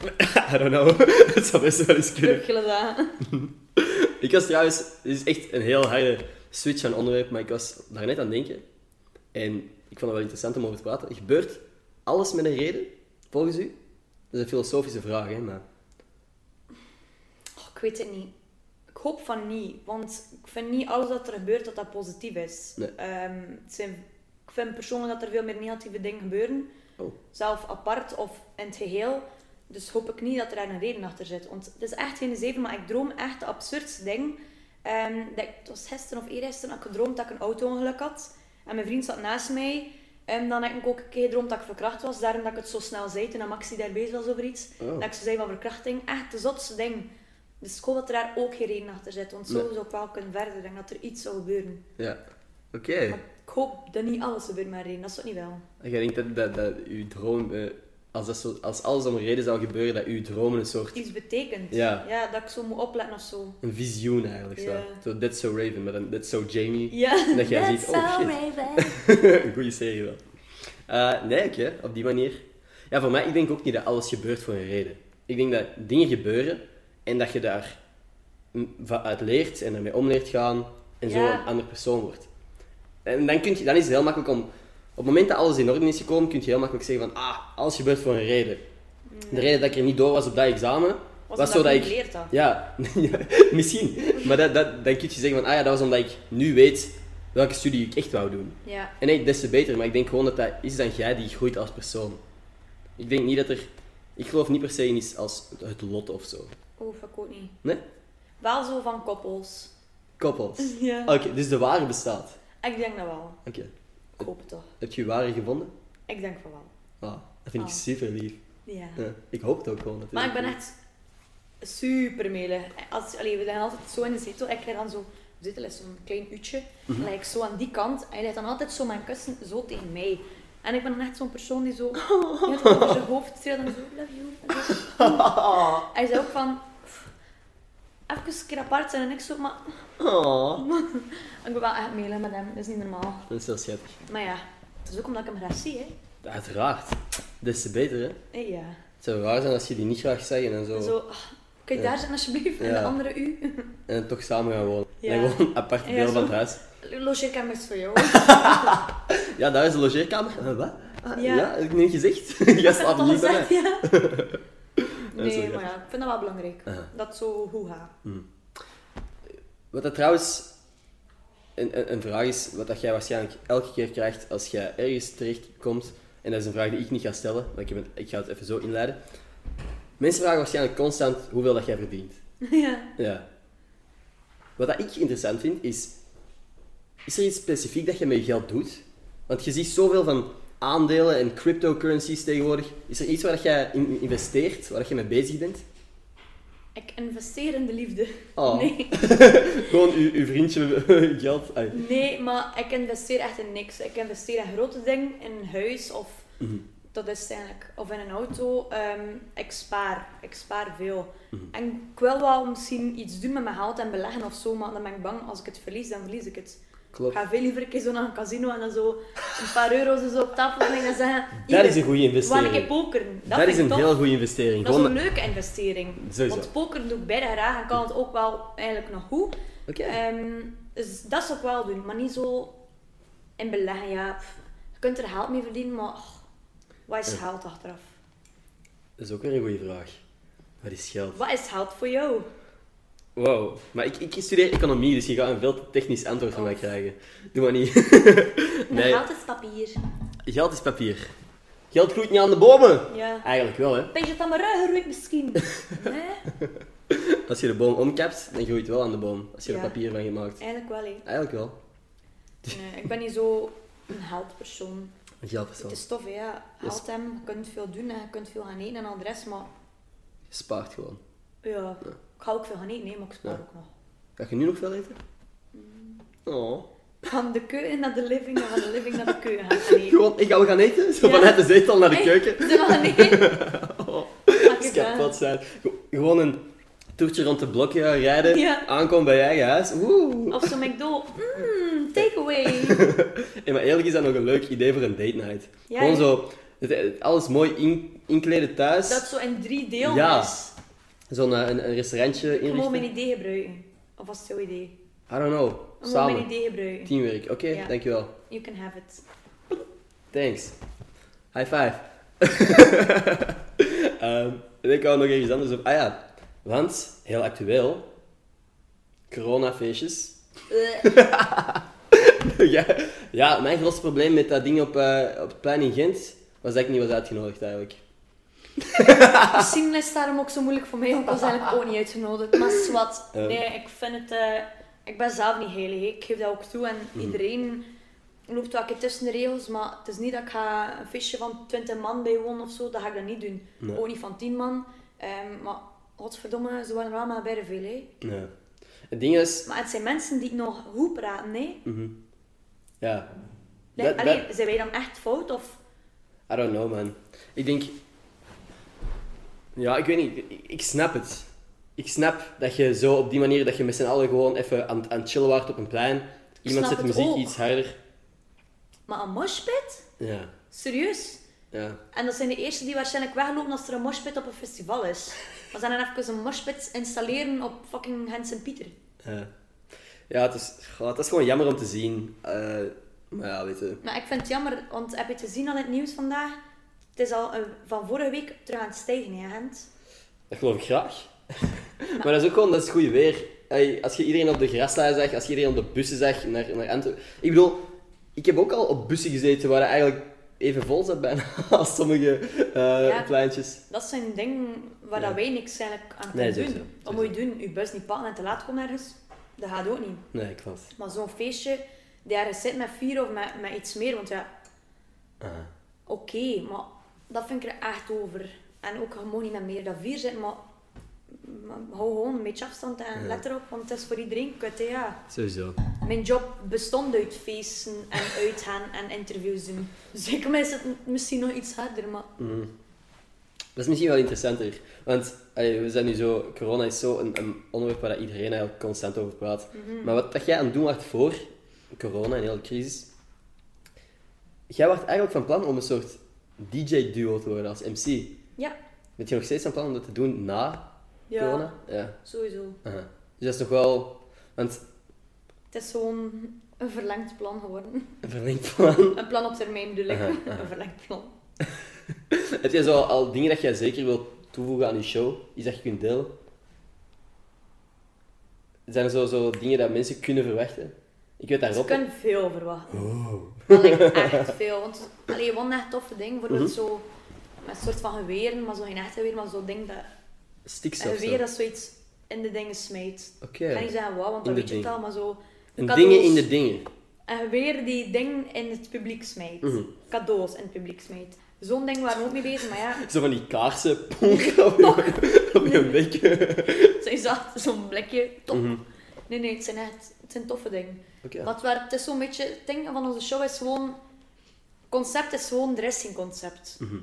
[SPEAKER 3] I don't know. Het zou best wel eens kunnen.
[SPEAKER 2] Druk gedaan.
[SPEAKER 3] Ik was trouwens... Dit is echt een heel harde switch van onderwerp, maar ik was daar net aan het denken. En ik vond het wel interessant om over te praten. Gebeurt alles met een reden, volgens u? Dat is een filosofische vraag, hè, maar...
[SPEAKER 2] Oh, ik weet het niet. Ik hoop van niet, want ik vind niet alles dat er gebeurt dat dat positief is.
[SPEAKER 3] Nee.
[SPEAKER 2] Ehm, het zijn, ik vind persoonlijk dat er veel meer negatieve dingen gebeuren,
[SPEAKER 3] Oh.
[SPEAKER 2] zelf apart of in het geheel. Dus hoop ik niet dat er daar een reden achter zit. Want het is echt geen zeven, maar ik droom echt de absurdste ding. Ehm, dat, ik- het was gisteren of eergisteren had ik gedroomd dat ik een auto-ongeluk had. En mijn vriend zat naast mij. En dan heb ik ook een keer gedroomd dat ik verkracht was. Daarom dat ik het zo snel zei toen dat Maxi daar bezig was over iets.
[SPEAKER 3] Oh.
[SPEAKER 2] Dat ik zo zei van verkrachting. Echt de zotste ding. Dus ik hoop dat er daar ook geen reden achter zit. Want zo
[SPEAKER 3] Nee.
[SPEAKER 2] zou ik wel kunnen verder. Ik denk dat er iets zou gebeuren.
[SPEAKER 3] Ja. Oké.
[SPEAKER 2] Maar ik hoop dat niet alles gebeurt met een reden. Dat is toch niet wel.
[SPEAKER 3] Jij denkt dat, dat, dat uw droom... eh, als, dat zo, als alles om een reden zou gebeuren, dat uw dromen een soort...
[SPEAKER 2] Iets betekent.
[SPEAKER 3] Ja.
[SPEAKER 2] dat ik zo moet opletten of zo.
[SPEAKER 3] Een visioen eigenlijk, zo.
[SPEAKER 2] Ja.
[SPEAKER 3] Zo, That's So Raven, maar dan That's So Jamie.
[SPEAKER 2] Ja.
[SPEAKER 3] En dat jij ziet, oh shit. Een goede serie wel. Eh, nee, oké, op die manier. Ja, voor mij, ik denk ook niet dat alles gebeurt voor een reden. Ik denk dat dingen gebeuren en dat je daar mm, van uit leert en ermee om leert gaan en zo
[SPEAKER 2] Ja.
[SPEAKER 3] een ander persoon wordt. En dan, kun je, dan is het heel makkelijk om, op het moment dat alles in orde is gekomen, kun je heel makkelijk zeggen van, ah, alles gebeurt voor een reden. De reden dat ik er niet door was op dat examen, was,
[SPEAKER 2] omdat
[SPEAKER 3] zodat
[SPEAKER 2] je
[SPEAKER 3] ik...
[SPEAKER 2] niet geleerd had.
[SPEAKER 3] Ja, misschien. Maar dat, dat, dan kun je zeggen van, ah ja, dat was omdat ik nu weet welke studie ik echt wou doen.
[SPEAKER 2] Ja.
[SPEAKER 3] En nee, des te beter, maar ik denk gewoon dat dat is dan jij die groeit als persoon. Ik denk niet dat er. Ik geloof niet per se in iets als het lot of zo.
[SPEAKER 2] Oeh, ik Oh, ook niet.
[SPEAKER 3] Nee?
[SPEAKER 2] Wel zo van koppels.
[SPEAKER 3] Koppels.
[SPEAKER 2] Ja.
[SPEAKER 3] Oké, dus de ware bestaat.
[SPEAKER 2] Ik denk dat wel.
[SPEAKER 3] Oké.
[SPEAKER 2] Ik hoop het toch.
[SPEAKER 3] Heb je je ware gevonden?
[SPEAKER 2] Ik denk van wel.
[SPEAKER 3] Ah, dat vind ik
[SPEAKER 2] Ah.
[SPEAKER 3] super lief.
[SPEAKER 2] Ja.
[SPEAKER 3] Ja, ik hoop het ook gewoon. Dat het
[SPEAKER 2] Maar ik ben
[SPEAKER 3] ook-
[SPEAKER 2] echt super melig. Als, allee, we zijn altijd zo in de zetel. Ik leg dan zo, de zetel is zo'n klein uurtje. Dan
[SPEAKER 3] Mhm.
[SPEAKER 2] leg ik zo aan die kant. En hij legt dan altijd zo mijn kussen zo tegen mij. En ik ben dan echt zo'n persoon die zo heel veel over zijn hoofd streelt en zo, love you. love you." Hij zei ook van, "Pff, even een keer apart zijn en ik zo, maar
[SPEAKER 3] Aw,
[SPEAKER 2] ik ben wel echt melig met hem, dat is niet normaal.
[SPEAKER 3] Ah. Dat is heel schattig.
[SPEAKER 2] Maar ja, het is ook omdat ik hem graag zie, hè.
[SPEAKER 3] Uiteraard. Des te beter, hè?
[SPEAKER 2] Eh, Ja.
[SPEAKER 3] Het zou raar zijn als je die niet graag zeggen en zo.
[SPEAKER 2] Zo, "Ah, kan je daar zijn alsjeblieft? En
[SPEAKER 3] Ja.
[SPEAKER 2] de andere u?
[SPEAKER 3] En dan toch samen gaan wonen.
[SPEAKER 2] Ja.
[SPEAKER 3] En gewoon een apart
[SPEAKER 2] Ja,
[SPEAKER 3] deel van
[SPEAKER 2] zo.
[SPEAKER 3] het huis.
[SPEAKER 2] Logeerkamers voor jou.
[SPEAKER 3] Ja, daar is de logeerkamer. Eh, Wat? Ah, ja.
[SPEAKER 2] Ja.
[SPEAKER 3] heb ik niet gezegd? Jij slaapt
[SPEAKER 2] Dat
[SPEAKER 3] niet bij mij.
[SPEAKER 2] gezegd, ja.
[SPEAKER 3] is wel
[SPEAKER 2] Nee, maar
[SPEAKER 3] grappig.
[SPEAKER 2] ja, ik vind dat wel belangrijk.
[SPEAKER 3] Aha.
[SPEAKER 2] Dat het zo hoe gaat.
[SPEAKER 3] Wat dat trouwens een, een, een vraag is, wat dat jij waarschijnlijk elke keer krijgt als jij ergens terechtkomt, en dat is een vraag die ik niet ga stellen, maar ik, heb een- ik ga het even zo inleiden. Mensen vragen waarschijnlijk constant hoeveel dat jij verdient.
[SPEAKER 2] ja.
[SPEAKER 3] Ja. Wat dat ik interessant vind, is... Is er iets specifiek dat je met je geld doet? Want je ziet zoveel van aandelen en cryptocurrencies tegenwoordig. Is er iets waar dat jij in investeert, waar dat je mee bezig bent?
[SPEAKER 2] Ik investeer in de liefde.
[SPEAKER 3] Oh.
[SPEAKER 2] Nee.
[SPEAKER 3] Gewoon uw, uw vriendje geld. Ai.
[SPEAKER 2] nee, maar ik investeer echt in niks. Ik investeer in grote dingen, in een huis of
[SPEAKER 3] Mhm.
[SPEAKER 2] dat is het eigenlijk. Of in een auto. Ehm, ik spaar. Ik spaar veel.
[SPEAKER 3] Mhm.
[SPEAKER 2] En ik wil wel misschien iets doen met mijn geld en beleggen of zo, maar dan ben ik bang als ik het verlies, dan verlies ik het. Ik
[SPEAKER 3] Klopt.
[SPEAKER 2] ga veel liever een keer zo naar een casino en dan zo een paar euro's en zo op tafel leggen en zeggen...
[SPEAKER 3] Dat
[SPEAKER 2] "Hier,
[SPEAKER 3] is een goede
[SPEAKER 2] we gaan een keer
[SPEAKER 3] investering.
[SPEAKER 2] pokeren. Dat,
[SPEAKER 3] Dat
[SPEAKER 2] vind
[SPEAKER 3] is
[SPEAKER 2] ik
[SPEAKER 3] een
[SPEAKER 2] tof.
[SPEAKER 3] heel goede investering.
[SPEAKER 2] Dat is
[SPEAKER 3] Gewoon...
[SPEAKER 2] een leuke investering.
[SPEAKER 3] Sowieso.
[SPEAKER 2] Want poker doe ik bijna graag en kan het ook wel eigenlijk nog goed.
[SPEAKER 3] Oké.
[SPEAKER 2] Ehm, dus dat zou ik wel doen, maar niet zo in beleggen. Ja. Pff, Je kunt er geld mee verdienen, maar och, wat is geld achteraf?
[SPEAKER 3] Dat is ook weer een goede vraag. Wat is geld?
[SPEAKER 2] Wat is geld voor jou?
[SPEAKER 3] Wow, maar ik, ik studeer economie, dus je gaat een veel te technisch antwoord van mij
[SPEAKER 2] Oh.
[SPEAKER 3] krijgen. Doe maar niet. Nee.
[SPEAKER 2] Geld is papier.
[SPEAKER 3] Geld is papier. Geld groeit niet aan de bomen.
[SPEAKER 2] Ja.
[SPEAKER 3] Eigenlijk wel, hè.
[SPEAKER 2] Beetje dat mijn rug groeit misschien. nee?
[SPEAKER 3] Als je de boom omkapt, dan groeit het wel aan de boom. Als je er
[SPEAKER 2] Ja.
[SPEAKER 3] papier van gemaakt.
[SPEAKER 2] Eigenlijk wel, hé.
[SPEAKER 3] Eigenlijk wel.
[SPEAKER 2] Nee, ik ben niet zo een geldpersoon.
[SPEAKER 3] Een geldpersoon.
[SPEAKER 2] Het is tof, hè. ja.
[SPEAKER 3] Yes.
[SPEAKER 2] Geld hem, je kunt veel doen en je kunt veel gaan eten en al de rest, maar
[SPEAKER 3] Je spaart gewoon.
[SPEAKER 2] ja, ik ga ook veel gaan eten, hè, maar ik spaar
[SPEAKER 3] Ja.
[SPEAKER 2] ook nog.
[SPEAKER 3] Ga je nu nog veel eten?
[SPEAKER 2] Mm.
[SPEAKER 3] Oh.
[SPEAKER 2] Van de keuken naar de living en van de living naar de keuken gaan gaan eten.
[SPEAKER 3] Gewoon, ik ga we gaan eten? Zo
[SPEAKER 2] Ja.
[SPEAKER 3] vanuit de zetel naar de keuken.
[SPEAKER 2] Hey, zullen we gaan eten?
[SPEAKER 3] Oh.
[SPEAKER 2] Maak
[SPEAKER 3] Het
[SPEAKER 2] het
[SPEAKER 3] kan
[SPEAKER 2] aan.
[SPEAKER 3] plat zijn. Ge- Gewoon een toertje rond de blokje rijden.
[SPEAKER 2] Ja.
[SPEAKER 3] Aankomen bij je eigen huis. Oeh.
[SPEAKER 2] Of zo McDo. Mmm, takeaway.
[SPEAKER 3] Hey, maar eerlijk is dat nog een leuk idee voor een date night.
[SPEAKER 2] Ja,
[SPEAKER 3] Gewoon
[SPEAKER 2] ja.
[SPEAKER 3] zo, het- het- alles mooi in, inkleden thuis.
[SPEAKER 2] Dat zo in drie delen
[SPEAKER 3] Ja.
[SPEAKER 2] is.
[SPEAKER 3] Zo'n eh, een, een restaurantje
[SPEAKER 2] Ik moet
[SPEAKER 3] inrichten.
[SPEAKER 2] mijn idee gebruiken. Of was het jouw idee?
[SPEAKER 3] I don't know.
[SPEAKER 2] Ik moet mijn
[SPEAKER 3] Samen.
[SPEAKER 2] idee gebruiken.
[SPEAKER 3] Teamwork. Oké,
[SPEAKER 2] Ja.
[SPEAKER 3] dankjewel.
[SPEAKER 2] You can have it.
[SPEAKER 3] Thanks. High five. Ehm, en ik wou nog ergens anders op. Ah ja, want, heel actueel, coronafeestjes.
[SPEAKER 2] Eh,
[SPEAKER 3] ja, ja, mijn grootste probleem met dat ding op, eh, op het plein in Gent was dat ik niet was uitgenodigd eigenlijk.
[SPEAKER 2] Misschien is het daarom ook zo moeilijk voor mij, want ik was eigenlijk ook niet uitgenodigd. Maar zwart,
[SPEAKER 3] Eh.
[SPEAKER 2] nee, ik vind het... eh, ik ben zelf niet heilig, hè. ik geef dat ook toe. En
[SPEAKER 3] Mhm.
[SPEAKER 2] iedereen loopt wel een keer tussen de regels, maar het is niet dat ik ga een feestje van 20 man bijwonen of zo. Dat ga ik dan niet doen.
[SPEAKER 3] Nee.
[SPEAKER 2] Ook niet van 10 man. Ehm, maar godverdomme, ze waren er allemaal bij de veel. Hè.
[SPEAKER 3] Ja. Het ding is,
[SPEAKER 2] Maar het zijn mensen die nog goed praten, nee.
[SPEAKER 3] ja.
[SPEAKER 2] Like,
[SPEAKER 3] Mhm. Dat- dat-
[SPEAKER 2] allee, zijn wij dan echt fout? Of...
[SPEAKER 3] I don't know, man. Ik denk. Ja, ik weet niet. Ik, ik snap het. Ik snap dat je zo op die manier dat je met z'n allen gewoon even aan, aan het chillen waart op een plein. Iemand
[SPEAKER 2] snap
[SPEAKER 3] zet de
[SPEAKER 2] het
[SPEAKER 3] muziek
[SPEAKER 2] ook.
[SPEAKER 3] iets harder.
[SPEAKER 2] Maar een moshpit?
[SPEAKER 3] Ja,
[SPEAKER 2] Serieus?
[SPEAKER 3] ja.
[SPEAKER 2] En dat zijn de eerste die waarschijnlijk weglopen als er een moshpit op een festival is. We zijn dan even een moshpit installeren op fucking Hens en Pieter.
[SPEAKER 3] Ja, ja het, is, goh, het is gewoon jammer om te zien. Eh, maar ja, weet je.
[SPEAKER 2] Maar ik vind het jammer, want heb je het gezien al in het nieuws vandaag? Het is al eh, van vorige week terug aan het stijgen, hè, Gent?
[SPEAKER 3] Dat geloof ik graag. maar dat is ook gewoon, dat is goede weer. Ey, als je iedereen op de graslijn zag, als je iedereen op de bussen zag naar, naar Antwerpen. Ik bedoel, ik heb ook al op bussen gezeten waar het eigenlijk even vol zat bijna als sommige eh,
[SPEAKER 2] Ja.
[SPEAKER 3] pleintjes.
[SPEAKER 2] Dat zijn dingen waar dat
[SPEAKER 3] Ja.
[SPEAKER 2] wij niks eigenlijk aan
[SPEAKER 3] Nee,
[SPEAKER 2] kunnen
[SPEAKER 3] sowieso,
[SPEAKER 2] doen. Wat moet je doen? Je bus niet pakken en te laat komen ergens? Dat gaat ook niet.
[SPEAKER 3] Nee, klopt.
[SPEAKER 2] Maar zo'n feestje, die ergens zit met vier of met, met iets meer, want ja,
[SPEAKER 3] Ah.
[SPEAKER 2] oké, maar dat vind ik er echt over. En ook, je mag niet met meer dan vier zitten, maar, maar hou gewoon een beetje afstand en
[SPEAKER 3] Ja.
[SPEAKER 2] let erop, want het is voor iedereen kut, hè, ja.
[SPEAKER 3] Sowieso.
[SPEAKER 2] Mijn job bestond uit feesten en uitgaan en interviews doen. Dus ik mis het misschien nog iets harder, maar...
[SPEAKER 3] Hm. Dat is misschien wel interessanter. Want ey, we zijn nu zo, corona is zo een, een onderwerp waar dat iedereen eigenlijk constant over praat. Maar wat dat jij aan het doen was voor corona en heel de crisis. Jij was eigenlijk van plan om een soort DJ-duo te worden als MC.
[SPEAKER 2] Ja,
[SPEAKER 3] Bent je nog steeds van plan om dat te doen na
[SPEAKER 2] ja
[SPEAKER 3] corona? Ja.
[SPEAKER 2] sowieso.
[SPEAKER 3] Aha. Dus dat is toch wel... Want
[SPEAKER 2] Het is gewoon een verlengd plan geworden.
[SPEAKER 3] een verlengd plan.
[SPEAKER 2] Een plan op termijn bedoel ik.
[SPEAKER 3] Aha, Hm. aha.
[SPEAKER 2] Een verlengd plan.
[SPEAKER 3] Heb jij zo al dingen dat jij zeker wilt toevoegen aan je show? Iets dat je kunt delen? Zijn er zo, zo dingen dat mensen kunnen verwachten? Ik weet
[SPEAKER 2] Ze
[SPEAKER 3] daarop.
[SPEAKER 2] kunnen veel verwachten.
[SPEAKER 3] Oh.
[SPEAKER 2] Dat lijkt me echt veel. Want allee, one echt toffe ding, bijvoorbeeld
[SPEAKER 3] Mhm.
[SPEAKER 2] zo met een soort van geweren, maar zo geen echte geweer, maar zo'n ding dat
[SPEAKER 3] Sticks
[SPEAKER 2] een
[SPEAKER 3] of zo.
[SPEAKER 2] geweer dat zoiets in de dingen smijt.
[SPEAKER 3] Oké.
[SPEAKER 2] Ik kan niet zeggen wauw, want dan
[SPEAKER 3] In de
[SPEAKER 2] weet je het
[SPEAKER 3] ding.
[SPEAKER 2] al, maar zo.
[SPEAKER 3] En
[SPEAKER 2] cadeaus-
[SPEAKER 3] dingen in de dingen.
[SPEAKER 2] En weer die dingen in het publiek smijt.
[SPEAKER 3] Mhm.
[SPEAKER 2] Cadeaus in het publiek smijt. Zo'n ding waren we ook mee bezig, maar ja,
[SPEAKER 3] Zo van die kaarsen, ponk, op je, op je bek.
[SPEAKER 2] het is dat, zo'n blikje, top. Nee, nee, het zijn echt het zijn toffe dingen.
[SPEAKER 3] Mhm. Oké.
[SPEAKER 2] Wat waar, het is zo'n beetje, het ding van onze show is gewoon, concept is gewoon, er is geen concept.
[SPEAKER 3] Mhm.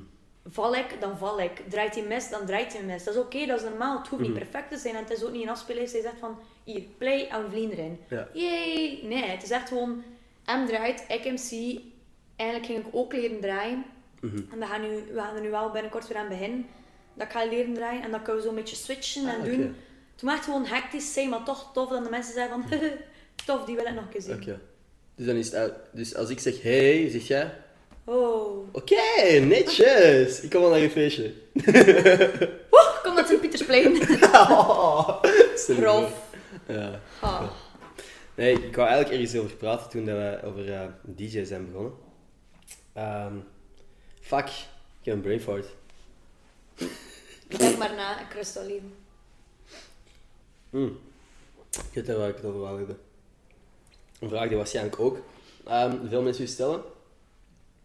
[SPEAKER 2] Val ik, dan val ik. Draait hij mis, dan draait hij mis. Dat is oké, dat is normaal. Het hoeft
[SPEAKER 3] Mhm.
[SPEAKER 2] niet perfect te zijn en het is ook niet een afspeellijst. Hij zegt van, hier, play en vlieg erin.
[SPEAKER 3] Ja.
[SPEAKER 2] Yay! Nee, het is echt gewoon, hem draait, ik hem zie. Eigenlijk ging ik ook leren draaien.
[SPEAKER 3] Mhm.
[SPEAKER 2] En we gaan, nu, we gaan er nu wel binnenkort weer aan beginnen. Dat ik ga leren draaien en dan kunnen we zo'n beetje switchen en
[SPEAKER 3] Ah,
[SPEAKER 2] doen.
[SPEAKER 3] oké.
[SPEAKER 2] Het mag gewoon hectisch zijn, maar toch tof dat de mensen zeggen van tof, die wil ik nog een keer zien.
[SPEAKER 3] Oké. Dus dan is het uit. Dus als ik zeg hey, zeg jij...
[SPEAKER 2] Oh.
[SPEAKER 3] Oké, netjes. Ik kom wel naar je feestje.
[SPEAKER 2] Woe, kom dat in Pietersplein.
[SPEAKER 3] Sorry.
[SPEAKER 2] Grof.
[SPEAKER 3] Ja.
[SPEAKER 2] Ah.
[SPEAKER 3] Nee, ik wou eigenlijk ergens over praten toen dat we over eh, DJ zijn begonnen. Ehm fuck, ik heb een brain fart.
[SPEAKER 2] Denk maar na, ik rust al even.
[SPEAKER 3] Ik weet niet waar ik het over wil hebben. Een vraag die waarschijnlijk ook ehm, veel mensen u stellen.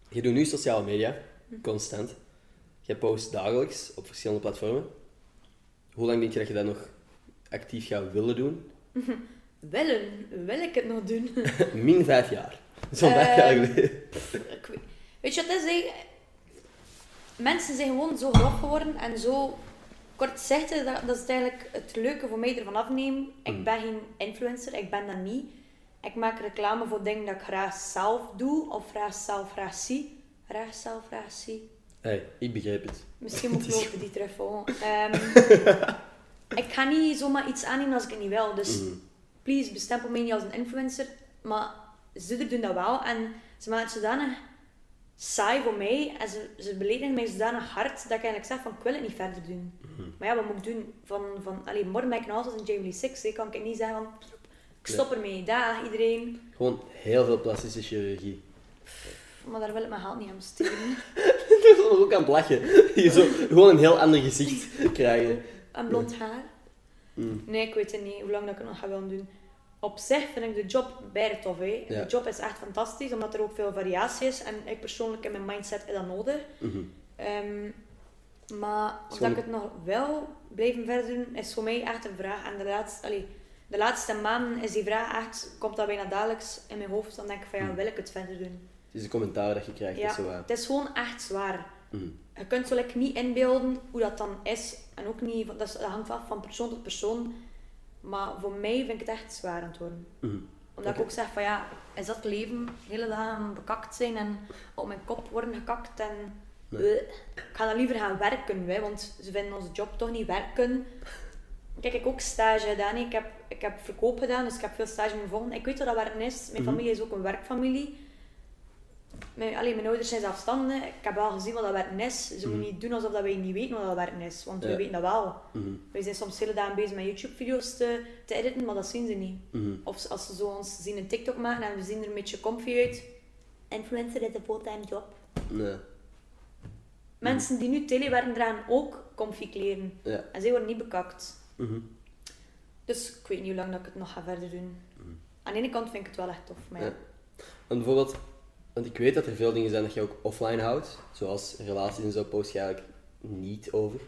[SPEAKER 3] Je doet nu sociale media, constant. Je post dagelijks op verschillende platformen. Hoe lang denk je dat je dat nog actief gaat willen doen?
[SPEAKER 2] Willen, wil ik het nog doen?
[SPEAKER 3] Min vijf jaar. Zo'n vijf jaar
[SPEAKER 2] Ehm,
[SPEAKER 3] geleden.
[SPEAKER 2] Ik weet, weet je wat het is? hè? Mensen zijn gewoon zo grof geworden en zo kort zitten. Dat, dat is eigenlijk het leuke voor mij ervan afnemen. Ik ben geen influencer, ik ben dat niet. Ik maak reclame voor dingen dat ik graag zelf doe of graag zelf graag zie. Graag zelf graag zie.
[SPEAKER 3] Hey, ik begrijp het.
[SPEAKER 2] Misschien moet ik
[SPEAKER 3] Het is-
[SPEAKER 2] lopen die truffel. Ehm, ik ga niet zomaar iets aannemen als ik het niet wil. Dus
[SPEAKER 3] Mm-hmm.
[SPEAKER 2] please, bestempel mij niet als een influencer. Maar ze doen dat wel. En ze maken het zodanig saai voor mij. En ze, ze beledigen mij zodanig hard dat ik eigenlijk zeg van ik wil het niet verder doen.
[SPEAKER 3] Mm-hmm.
[SPEAKER 2] Maar ja, wat moet ik doen? Van, van, allee, morgen ben ik nog altijd in Jamie Lee Six. hè. Kan ik niet zeggen van ik stop ermee. Dag iedereen.
[SPEAKER 3] Gewoon heel veel plastische chirurgie.
[SPEAKER 2] Maar daar wil ik mijn geld niet aan besteden.
[SPEAKER 3] Ik is er ook aan het lachen. Je zo gewoon een heel ander gezicht krijgen.
[SPEAKER 2] En blond haar? Nee, ik weet het niet hoe lang dat ik het nog ga willen doen. Op zich vind ik de job bijna tof. Hè.
[SPEAKER 3] Ja.
[SPEAKER 2] De job is echt fantastisch, omdat er ook veel variatie is. En ik persoonlijk in mijn mindset is dat nodig. Ehm, maar of dat
[SPEAKER 3] Zo'n-
[SPEAKER 2] ik het nog wel blijven verder doen, is voor mij echt een vraag. En de laatste, allee, de laatste maanden is die vraag echt, komt dat bijna dagelijks in mijn hoofd. Dan denk ik van ja, wil ik het verder doen?
[SPEAKER 3] Het is een commentaar dat je krijgt. dat
[SPEAKER 2] Ja,
[SPEAKER 3] is zo, eh, Mm.
[SPEAKER 2] het is gewoon echt zwaar. Je kunt zo lekker niet inbeelden hoe dat dan is. En ook niet, van- dat, is- dat hangt af van persoon tot persoon. Maar voor mij vind ik het echt zwaar aan het worden.
[SPEAKER 3] Mm.
[SPEAKER 2] Omdat ik ook zeg van ja, is dat leven? De hele dagen bekakt zijn en op mijn kop worden gekakt en... Bleh. Ik ga dan liever gaan werken, hè, want ze vinden onze job toch niet werken. Kijk, ik heb ook stage gedaan. hè. Ik heb, ik heb verkoop gedaan, dus ik heb veel stage moeten volgen. Ik weet wat dat werken is. Mijn
[SPEAKER 3] Mhm.
[SPEAKER 2] familie is ook een werkfamilie. Mijn, allee, mijn ouders zijn zelfstandig. Ik heb wel gezien wat dat werken is. Ze moeten niet doen alsof dat wij niet weten wat dat werken is, want wij
[SPEAKER 3] Mhm. Ja. Mhm.
[SPEAKER 2] weten dat wel. Wij zijn soms hele dagen bezig met YouTube-video's te, te editen, maar dat zien ze niet.
[SPEAKER 3] Mhm.
[SPEAKER 2] Of ze- als ze zo ons zien een TikTok maken en we zien er een beetje comfy uit. Influencer is een fulltime job.
[SPEAKER 3] nee.
[SPEAKER 2] Mensen die nu telewerken dragen ook comfy kleren.
[SPEAKER 3] Ja.
[SPEAKER 2] En zij worden niet bekakt.
[SPEAKER 3] Mhm.
[SPEAKER 2] Dus ik weet niet hoe lang dat ik het nog ga verder doen. Aan de ene kant vind ik het wel echt tof, maar ja.
[SPEAKER 3] Mhm. Ja. Want bijvoorbeeld, want ik weet dat er veel dingen zijn dat je ook offline houdt, zoals relaties en zo post je eigenlijk niet over.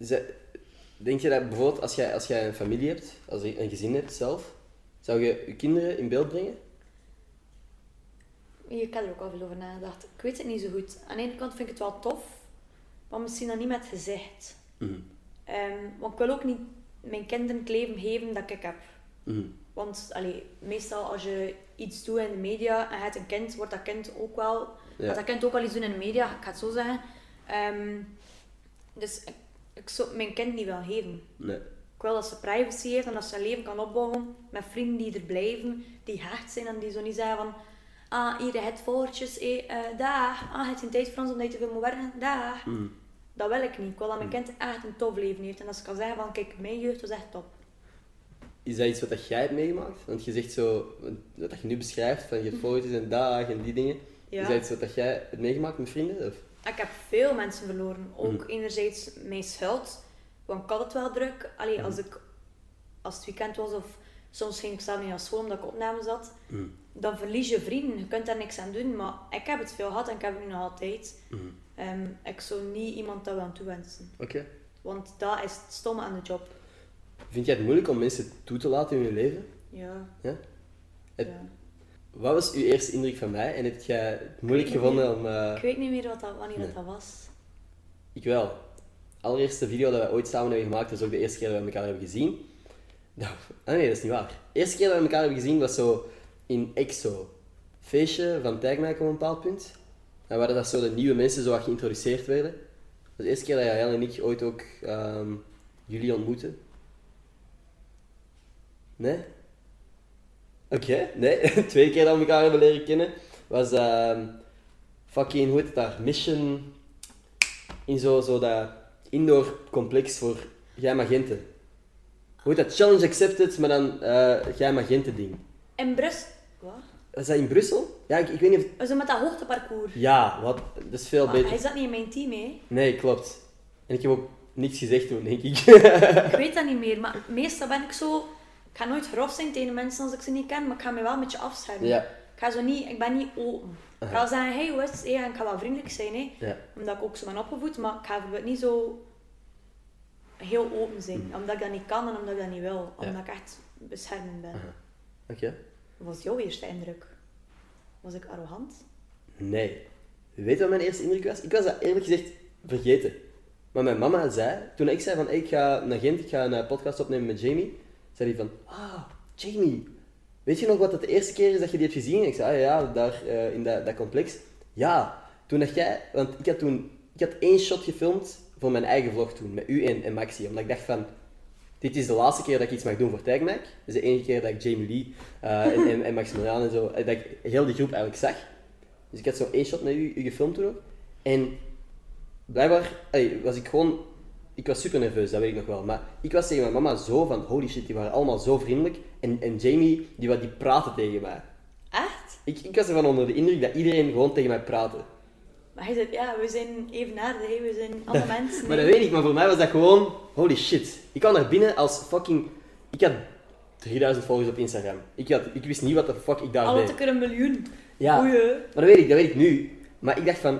[SPEAKER 3] Ze- denk je dat bijvoorbeeld als jij, als jij een familie hebt, als je een gezin hebt zelf, zou je je kinderen in beeld brengen?
[SPEAKER 2] Je kan er ook al veel over nagedacht. Ik weet het niet zo goed. Aan de ene kant vind ik het wel tof, maar misschien dan niet met gezicht. Ehm, want ik wil ook niet mijn kinderen het leven geven dat ik heb.
[SPEAKER 3] Mhm.
[SPEAKER 2] Want allee, meestal als je iets doet in de media en je hebt een kind, wordt dat kind ook wel.
[SPEAKER 3] Ja.
[SPEAKER 2] gaat dat kind ook wel iets doen in de media, ik ga het zo zeggen. Ehm, dus ik, ik zou het mijn kind niet willen geven.
[SPEAKER 3] Nee.
[SPEAKER 2] Ik wil dat ze privacy heeft en dat ze haar leven kan opbouwen met vrienden die er blijven, die hecht zijn en die zo niet zeggen van ah, hier het voortjes, eh, eh, daag, ah, het is een tijd voor ons omdat je te veel moet werken, daag. Dat wil ik niet. Ik wil dat mijn kind echt een tof leven heeft en dat ze kan zeggen van kijk, mijn jeugd was echt top.
[SPEAKER 3] Is dat iets wat dat jij hebt meegemaakt? Want je zegt zo, wat dat je nu beschrijft, van je hebt foto's en dagen en die dingen.
[SPEAKER 2] Mhm. Ja.
[SPEAKER 3] Is dat iets wat dat jij hebt meegemaakt met vrienden? Of?
[SPEAKER 2] Ik heb veel mensen verloren. Ook
[SPEAKER 3] Mhm.
[SPEAKER 2] enerzijds
[SPEAKER 3] Mhm.
[SPEAKER 2] mijn schuld, want ik had het wel druk. Allee, als, ik, als het weekend was of Soms ging ik zelf niet naar school omdat ik opname zat.
[SPEAKER 3] Mhm.
[SPEAKER 2] Dan verlies je vrienden. Je kunt daar niks aan doen. Maar ik heb het veel gehad en ik heb het nu nog altijd.
[SPEAKER 3] Mhm.
[SPEAKER 2] Ehm, ik zou niet iemand dat aan toewensen.
[SPEAKER 3] Oké.
[SPEAKER 2] Want dat is het stomme aan de job.
[SPEAKER 3] Vind jij het moeilijk om mensen toe te laten in je leven?
[SPEAKER 2] Ja.
[SPEAKER 3] Ja? Het-
[SPEAKER 2] ja.
[SPEAKER 3] Wat was uw eerste indruk van mij en heb jij het moeilijk
[SPEAKER 2] Ik weet
[SPEAKER 3] gevonden om... eh,
[SPEAKER 2] Ik weet niet meer wat dat, wanneer
[SPEAKER 3] Nee.
[SPEAKER 2] dat dat was.
[SPEAKER 3] Ik wel. Allereerste video dat wij ooit samen hebben gemaakt, dat is ook de eerste keer dat we elkaar hebben gezien. Nou, ah nee, dat is niet waar. De eerste keer dat we elkaar hebben gezien was zo in EXO. Feestje van Tijgmijk op een bepaald punt. En waar dat zo de nieuwe mensen zo wat geïntroduceerd werden. Dat is de eerste keer dat jij en ik ooit ook ehm, jullie ontmoeten. Nee? Oké, nee. Twee keer dat we elkaar hebben leren kennen was ehm, fucking, hoe heet het daar? Mission in zo, zo dat indoor complex voor jij magenten. Hoe heet dat? Challenge accepted, maar dan eh jij magenten ding.
[SPEAKER 2] In Brussel. Wat?
[SPEAKER 3] Was dat in Brussel? Ja, ik, ik weet niet of...
[SPEAKER 2] Zo met dat hoogteparcours.
[SPEAKER 3] Ja, wat? Dat is veel
[SPEAKER 2] Maar
[SPEAKER 3] beter.
[SPEAKER 2] hij zat niet in mijn team, hè?
[SPEAKER 3] Nee, klopt. En ik heb ook niks gezegd toen, denk ik.
[SPEAKER 2] Ik weet dat niet meer, maar meestal ben ik zo. Ik ga nooit grof zijn tegen de mensen als ik ze niet ken, maar ik ga me wel een beetje afschermen.
[SPEAKER 3] Ja.
[SPEAKER 2] Ik, ga zo niet, ik ben niet open. Ik ga wel zeggen, hey, hoe is het? Ja, en ik ga wel vriendelijk zijn, hè?
[SPEAKER 3] Ja.
[SPEAKER 2] omdat ik ook zo ben opgevoed, maar ik ga bijvoorbeeld niet zo heel open zijn, omdat ik dat niet kan en omdat ik dat niet wil,
[SPEAKER 3] Mm-hmm. Ja.
[SPEAKER 2] omdat ik echt beschermend ben.
[SPEAKER 3] Oké.
[SPEAKER 2] Wat was jouw eerste indruk? Was ik arrogant?
[SPEAKER 3] Nee. Weet je wat mijn eerste indruk was? Ik was dat eerlijk gezegd vergeten. Maar mijn mama zei, toen ik zei van ik ga naar Gent, ik ga een eh, podcast opnemen met Jamie, zei hij van, ah, Jamie, weet je nog wat dat de eerste keer is dat je die hebt gezien? Ik zei, ah ja, daar eh, in dat, dat complex. Ja, toen dat jij, want ik had toen, ik had één shot gefilmd voor mijn eigen vlog toen, met u en, en Maxi, omdat ik dacht van, dit is de laatste keer dat ik iets mag doen voor Tijgmac. Dit is de enige keer dat ik Jamie Lee eh, en, en, en Maximilian en zo, eh, dat ik heel die groep eigenlijk zag. Dus ik had zo één shot met u, u gefilmd toen ook. En blijkbaar ey, was ik gewoon... Ik was super nerveus, dat weet ik nog wel. Maar ik was tegen mijn mama zo van, holy shit, die waren allemaal zo vriendelijk. En, en Jamie, die, wa- die praatte tegen mij.
[SPEAKER 2] Echt?
[SPEAKER 3] Ik, ik was ervan onder de indruk dat iedereen gewoon tegen mij praatte.
[SPEAKER 2] Maar hij zei, ja, we zijn evenaarden, hè? we zijn alle mensen.
[SPEAKER 3] Maar
[SPEAKER 2] hè.
[SPEAKER 3] dat weet ik, maar voor mij was dat gewoon, holy shit. Ik kwam naar binnen als fucking... Ik had 3000 volgers op Instagram. Ik, had, ik wist niet wat de fuck ik daar
[SPEAKER 2] Al
[SPEAKER 3] deed.
[SPEAKER 2] had ik er een miljoen.
[SPEAKER 3] Ja.
[SPEAKER 2] Oei, hè.
[SPEAKER 3] Maar dat weet ik, dat weet ik nu. Maar ik dacht van,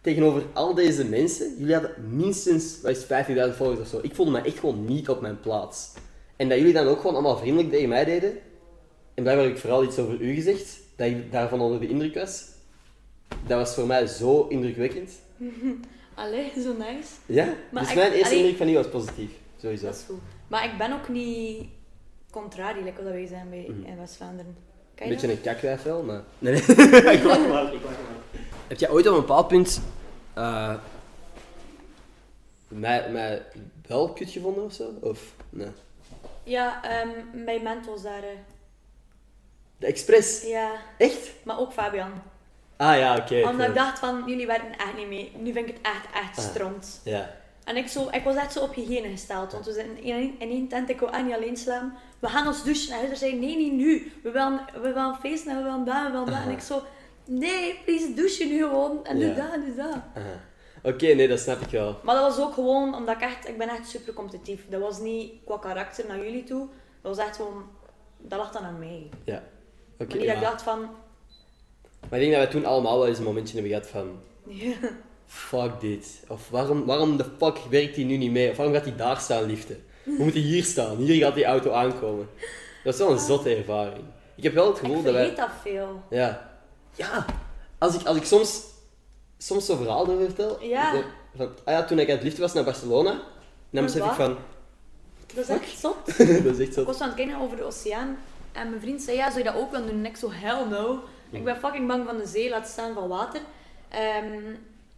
[SPEAKER 3] tegenover al deze mensen, jullie hadden minstens wat is het, 50.000 volgers of zo. Ik voelde me echt gewoon niet op mijn plaats. En dat jullie dan ook gewoon allemaal vriendelijk tegen mij deden. En blijkbaar heb ik vooral iets over u gezegd, dat ik daarvan onder de indruk was. Dat was voor mij zo indrukwekkend.
[SPEAKER 2] Allee, zo nice.
[SPEAKER 3] Ja?
[SPEAKER 2] Maar
[SPEAKER 3] dus
[SPEAKER 2] ik-
[SPEAKER 3] mijn eerste
[SPEAKER 2] allee-
[SPEAKER 3] indruk van u was positief. Sowieso.
[SPEAKER 2] Dat is goed. Maar ik ben ook niet contrari, lekker dat wij zijn bij, in West-Vlaanderen. Kan
[SPEAKER 3] Een
[SPEAKER 2] je
[SPEAKER 3] Mhm. beetje
[SPEAKER 2] dat?
[SPEAKER 3] een kakwijf wel, maar... Nee, nee. ik lach maar, ik lach maar. Heb jij ooit op een bepaald punt... eh, mij, mij wel kut gevonden of zo? Of... Nee.
[SPEAKER 2] Ja, ehm, mijn mentors daar. eh.
[SPEAKER 3] De Express?
[SPEAKER 2] Ja,
[SPEAKER 3] Echt?
[SPEAKER 2] maar ook Fabian.
[SPEAKER 3] Ah ja, oké.
[SPEAKER 2] Omdat ik
[SPEAKER 3] cool.
[SPEAKER 2] dacht van, jullie werken echt niet mee. Nu vind ik het echt, echt
[SPEAKER 3] Ah.
[SPEAKER 2] stront.
[SPEAKER 3] Ja.
[SPEAKER 2] En ik, zo, ik was echt zo op hygiëne gesteld. Want we zitten in één, in één tent, ik wil echt niet alleen slaan. We gaan ons douchen. En hij zei, nee, niet nu. We willen, we willen feesten en we willen dat, we willen dat. En ik zo, nee, please, douche nu gewoon. En
[SPEAKER 3] Ja.
[SPEAKER 2] doe dat, en doe dat.
[SPEAKER 3] Aha. Oké, nee, dat snap ik wel.
[SPEAKER 2] Maar dat was ook gewoon omdat ik echt, ik ben echt super competitief. Dat was niet qua karakter naar jullie toe. Dat was echt gewoon, dat lag dan aan mij.
[SPEAKER 3] Ja. Oké,
[SPEAKER 2] Maar niet dat
[SPEAKER 3] maar,
[SPEAKER 2] ik dacht van,
[SPEAKER 3] maar ik denk dat we toen allemaal wel eens een momentje hebben gehad van...
[SPEAKER 2] ja,
[SPEAKER 3] Fuck dit. Of waarom, waarom de fuck werkt hij nu niet mee? Of waarom gaat hij daar staan, liefde? We moeten hier staan. Hier gaat die auto aankomen. Dat is wel een zotte ervaring. Ik heb wel het gevoel
[SPEAKER 2] ik
[SPEAKER 3] dat wij...
[SPEAKER 2] vergeet dat veel.
[SPEAKER 3] Ja. Ja. Als ik, als ik soms, soms zo'n verhaal erover vertel.
[SPEAKER 2] Ja.
[SPEAKER 3] zo Van, ah ja, toen ik aan het liefde was naar Barcelona. Dan besef ik
[SPEAKER 2] wat?
[SPEAKER 3] van...
[SPEAKER 2] Dat is echt zot.
[SPEAKER 3] dat is echt
[SPEAKER 2] Ik
[SPEAKER 3] zo.
[SPEAKER 2] was aan het kijken over de oceaan en mijn vriend zei, ja, zou je dat ook willen doen? En ik zo, hell no. Ik ben fucking bang van de zee, laat staan van water. Ehm,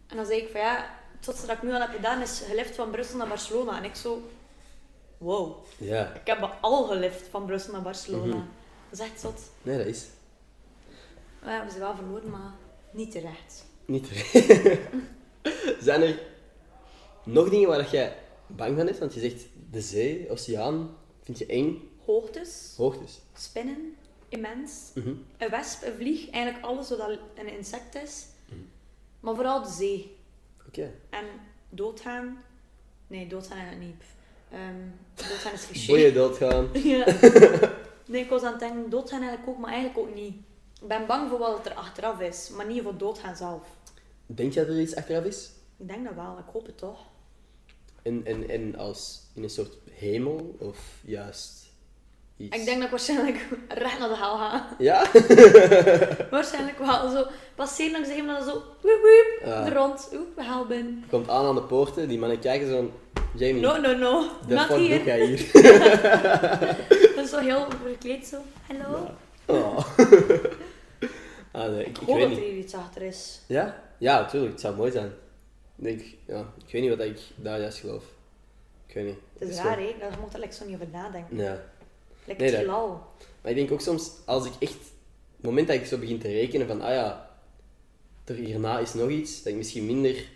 [SPEAKER 2] en dan zei ik van, ja, het zotste dat ik nu al heb gedaan is gelift van Brussel naar Barcelona. En ik zo, wow.
[SPEAKER 3] Ja.
[SPEAKER 2] Ik heb al gelift van Brussel naar Barcelona.
[SPEAKER 3] Mhm.
[SPEAKER 2] Dat is echt zot.
[SPEAKER 3] Nee, dat is
[SPEAKER 2] We hebben ze wel verloren, maar niet terecht.
[SPEAKER 3] niet Zijn er nog dingen waar dat jij bang van bent? Want je zegt de zee, oceaan, vind je eng,
[SPEAKER 2] Hoogtes,
[SPEAKER 3] hoogtes.
[SPEAKER 2] spinnen, immens. Een wesp, een vlieg, eigenlijk alles wat al een insect is. Maar vooral de zee.
[SPEAKER 3] Oké.
[SPEAKER 2] En doodgaan. Nee, doodgaan eigenlijk niet. Ehm, doodgaan is cliché.
[SPEAKER 3] Boeien doodgaan.
[SPEAKER 2] Ja. Nee, ik was aan het denken, doodgaan eigenlijk ook, maar eigenlijk ook niet. Ik ben bang voor wat er achteraf is, maar niet voor doodgaan zelf.
[SPEAKER 3] Denk jij dat er iets achteraf is?
[SPEAKER 2] Ik denk dat wel, ik hoop het toch.
[SPEAKER 3] En, en, en als in een soort hemel of juist iets?
[SPEAKER 2] Ik denk dat ik waarschijnlijk recht naar de hel ga.
[SPEAKER 3] Ja?
[SPEAKER 2] Waarschijnlijk wel. Zo, passeer langs de hemel en dan zo, woep woep,
[SPEAKER 3] Ah.
[SPEAKER 2] er rond. Oeh, de hel binnen.
[SPEAKER 3] Komt aan aan de poorten, die mannen kijken zo van, Jamie,
[SPEAKER 2] No, no, no.
[SPEAKER 3] de
[SPEAKER 2] Not
[SPEAKER 3] fuck doe
[SPEAKER 2] hier.
[SPEAKER 3] jij hier?
[SPEAKER 2] Dat is zo heel verkleed zo. Hallo.
[SPEAKER 3] Oh. ah, nee, ik,
[SPEAKER 2] Ik
[SPEAKER 3] ik
[SPEAKER 2] hoop dat
[SPEAKER 3] weet
[SPEAKER 2] er
[SPEAKER 3] niet.
[SPEAKER 2] hier iets achter is.
[SPEAKER 3] Ja? Ja, natuurlijk, het zou mooi zijn. Ik Denk, ja, ik weet niet wat ik daar juist geloof. Ik weet niet.
[SPEAKER 2] Het is
[SPEAKER 3] zo-
[SPEAKER 2] raar, hè? Daar moet je like, zo niet over nadenken.
[SPEAKER 3] Ja.
[SPEAKER 2] Like
[SPEAKER 3] Nee,
[SPEAKER 2] het
[SPEAKER 3] dat-
[SPEAKER 2] heelal.
[SPEAKER 3] Maar ik denk ook soms, als ik echt, het moment dat ik zo begin te rekenen van, ah ja, er hierna is nog iets, dat ik misschien minder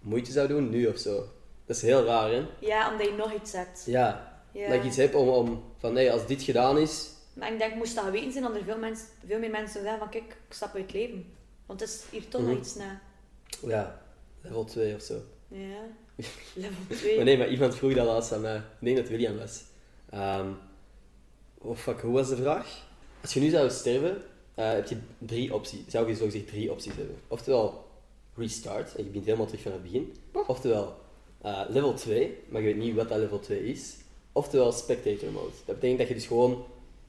[SPEAKER 3] moeite zou doen nu of zo. Dat is heel raar, hè?
[SPEAKER 2] Ja, omdat je nog iets zet.
[SPEAKER 3] Ja.
[SPEAKER 2] Ja.
[SPEAKER 3] Dat ik iets heb om, om van, nee, als dit gedaan is,
[SPEAKER 2] Maar ik denk, moest dat geweten zijn, dat er veel, mensen, veel meer mensen zeggen van kijk, ik stap uit het leven. Want het is hier toch nog
[SPEAKER 3] Mhm.
[SPEAKER 2] iets na.
[SPEAKER 3] ja, level 2 of zo.
[SPEAKER 2] Ja. Level 2.
[SPEAKER 3] Maar nee, maar iemand vroeg dat laatst aan mij. Ik denk dat het William was. Ehm, oh fuck, hoe was de vraag? Als je nu zou sterven, eh, heb je drie opties. Zou je zogezegd drie opties hebben. Oftewel restart, en je begint helemaal terug van het begin. Oftewel eh, level 2, maar je weet niet wat dat level 2 is. Oftewel spectator mode. Dat betekent dat je dus gewoon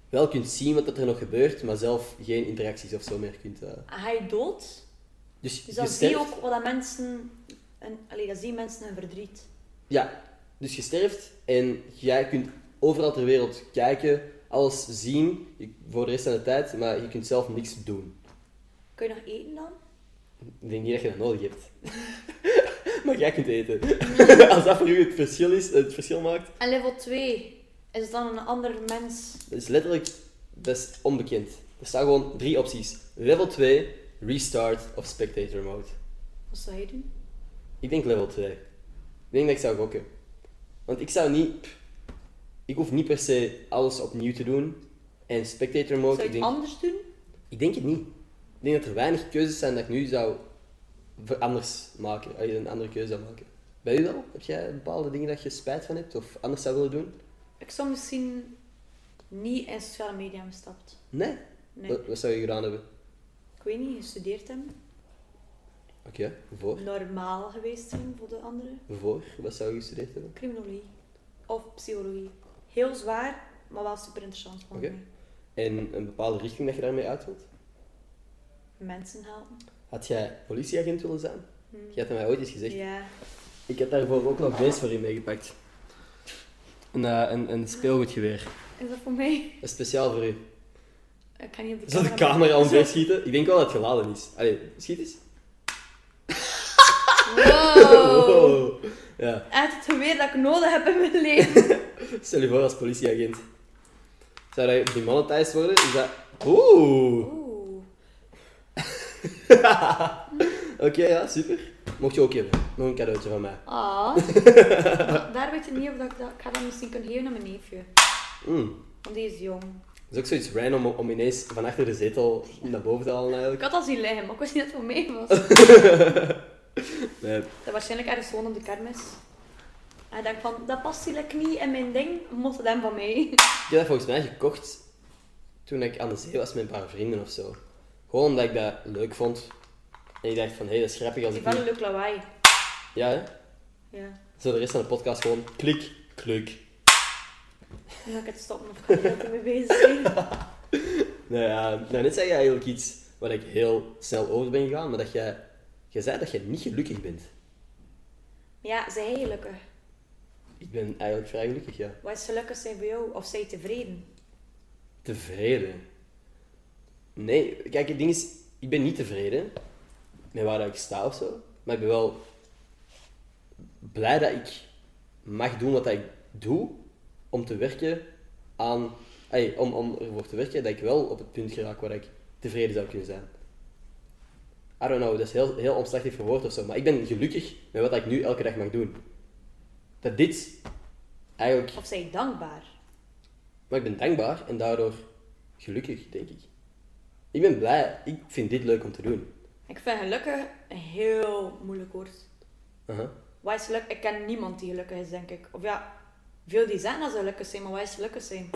[SPEAKER 3] wel kunt zien wat dat er nog gebeurt, maar zelf geen interacties of zo meer kunt... eh.
[SPEAKER 2] Ga je dood?
[SPEAKER 3] Dus,
[SPEAKER 2] Dus
[SPEAKER 3] je
[SPEAKER 2] dan zie je
[SPEAKER 3] sterft-
[SPEAKER 2] ook wat dat mensen... En, allee, dat zien mensen hun verdriet.
[SPEAKER 3] Ja, dus je sterft en jij kunt overal ter wereld kijken, alles zien je- voor de rest van de tijd, maar je kunt zelf niks doen.
[SPEAKER 2] Kun je nog eten dan?
[SPEAKER 3] Ik denk niet dat je dat nodig hebt. maar jij kunt eten. Als dat voor u het verschil is, het verschil maakt,
[SPEAKER 2] En level 2 is dan een ander mens.
[SPEAKER 3] dat is letterlijk dat is onbekend. Er staan gewoon drie opties: level 2, restart of spectator mode.
[SPEAKER 2] Wat zou je doen?
[SPEAKER 3] Ik denk level 2. Ik denk dat ik zou gokken. Want ik zou niet. pff, Ik hoef niet per se alles opnieuw te doen. En spectator mode.
[SPEAKER 2] Zou je het
[SPEAKER 3] ik denk,
[SPEAKER 2] anders doen?
[SPEAKER 3] Ik denk het niet. Ik denk dat er weinig keuzes zijn dat ik nu zou ver- anders maken. Als je een andere keuze zou maken. Bij u wel? Heb jij bepaalde dingen dat je spijt van hebt of anders zou willen doen?
[SPEAKER 2] Ik zou misschien niet in sociale media hebben gestapt.
[SPEAKER 3] Nee.
[SPEAKER 2] Nee.
[SPEAKER 3] Wat, wat zou je gedaan hebben?
[SPEAKER 2] Ik weet niet, gestudeerd hebben.
[SPEAKER 3] Oké, voor.
[SPEAKER 2] Normaal geweest zijn voor de anderen.
[SPEAKER 3] Voor. Wat zou je gestudeerd hebben?
[SPEAKER 2] Criminologie. Of psychologie. Heel zwaar, maar wel super interessant voor
[SPEAKER 3] Oké.
[SPEAKER 2] mij.
[SPEAKER 3] En een bepaalde richting dat je daarmee uit wilt?
[SPEAKER 2] Mensen helpen.
[SPEAKER 3] Had jij politieagent willen zijn?
[SPEAKER 2] Hmm.
[SPEAKER 3] Je had dat mij ooit eens gezegd.
[SPEAKER 2] Ja.
[SPEAKER 3] Ik heb daarvoor ook nog deze voor u meegepakt. Een, eh, een, een speelgoedgeweer.
[SPEAKER 2] Is dat voor mij?
[SPEAKER 3] Dat is speciaal voor u.
[SPEAKER 2] Ik kan niet op de
[SPEAKER 3] Zal
[SPEAKER 2] camera.
[SPEAKER 3] de camera omver
[SPEAKER 2] Zo.
[SPEAKER 3] schieten? Ik denk wel dat het geladen is. Allee, schiet eens.
[SPEAKER 2] Wow.
[SPEAKER 3] Wow. Oh. Ja,
[SPEAKER 2] Uit het geweer dat ik nodig heb in mijn leven.
[SPEAKER 3] stel je voor als politieagent. Zou dat demonetized worden? Is dat... Oeh.
[SPEAKER 2] Oeh.
[SPEAKER 3] Oké, ja, super. Mocht je ook hebben. Nog een cadeautje van mij.
[SPEAKER 2] Ah. Daar weet je niet of dat ik dat... Ik ga dat misschien kunnen geven aan mijn neefje.
[SPEAKER 3] Mm.
[SPEAKER 2] Want die is jong.
[SPEAKER 3] Dat is ook zoiets random om- om ineens van achter de zetel naar boven te halen
[SPEAKER 2] Ik
[SPEAKER 3] eigenlijk.
[SPEAKER 2] had al zien liggen, maar ik wist niet dat het voor mij was. dat
[SPEAKER 3] Nee.
[SPEAKER 2] waarschijnlijk ergens gewoon op de kermis. En ik dacht van, dat past eigenlijk niet in mijn ding. Mocht het hem van mij.
[SPEAKER 3] Ik heb dat volgens mij gekocht toen ik aan de zee was met een paar vrienden of zo. Gewoon omdat ik dat leuk vond. En ik dacht van, hé, hey, dat is grappig als
[SPEAKER 2] Die
[SPEAKER 3] ik...
[SPEAKER 2] van een
[SPEAKER 3] nu-
[SPEAKER 2] leuk lawaai.
[SPEAKER 3] Ja, hè?
[SPEAKER 2] Ja.
[SPEAKER 3] Zo de rest van de podcast gewoon klik, klik.
[SPEAKER 2] Nu ga ik het stoppen of kan ik er niet mee bezig zijn.
[SPEAKER 3] Nou ja, nou, net zei je eigenlijk iets waar ik heel snel over ben gegaan, maar dat jij... Je zei dat je niet gelukkig bent.
[SPEAKER 2] Ja, zij gelukkig.
[SPEAKER 3] Ik ben eigenlijk vrij gelukkig, ja.
[SPEAKER 2] Wat is gelukkig zijn bij jou? Of zij tevreden?
[SPEAKER 3] Tevreden? Nee, kijk, het ding is, ik ben niet tevreden met waar dat ik sta of zo. Maar ik ben wel blij dat ik mag doen wat dat ik doe om te werken aan. ey, om, om ervoor te werken dat ik wel op het punt geraak waar ik tevreden zou kunnen zijn. I don't know, dat is heel, heel omslachtig verwoord of zo. Maar ik ben gelukkig met wat ik nu elke dag mag doen. Dat dit eigenlijk
[SPEAKER 2] Of zij dankbaar?
[SPEAKER 3] maar ik ben dankbaar en daardoor gelukkig, denk ik. Ik ben blij. Ik vind dit leuk om te doen.
[SPEAKER 2] Ik vind gelukkig een heel moeilijk woord.
[SPEAKER 3] Aha.
[SPEAKER 2] Wat is geluk? Ik ken niemand die gelukkig is, denk ik. Of ja, veel die zeggen dat ze gelukkig zijn, maar wat is gelukkig zijn?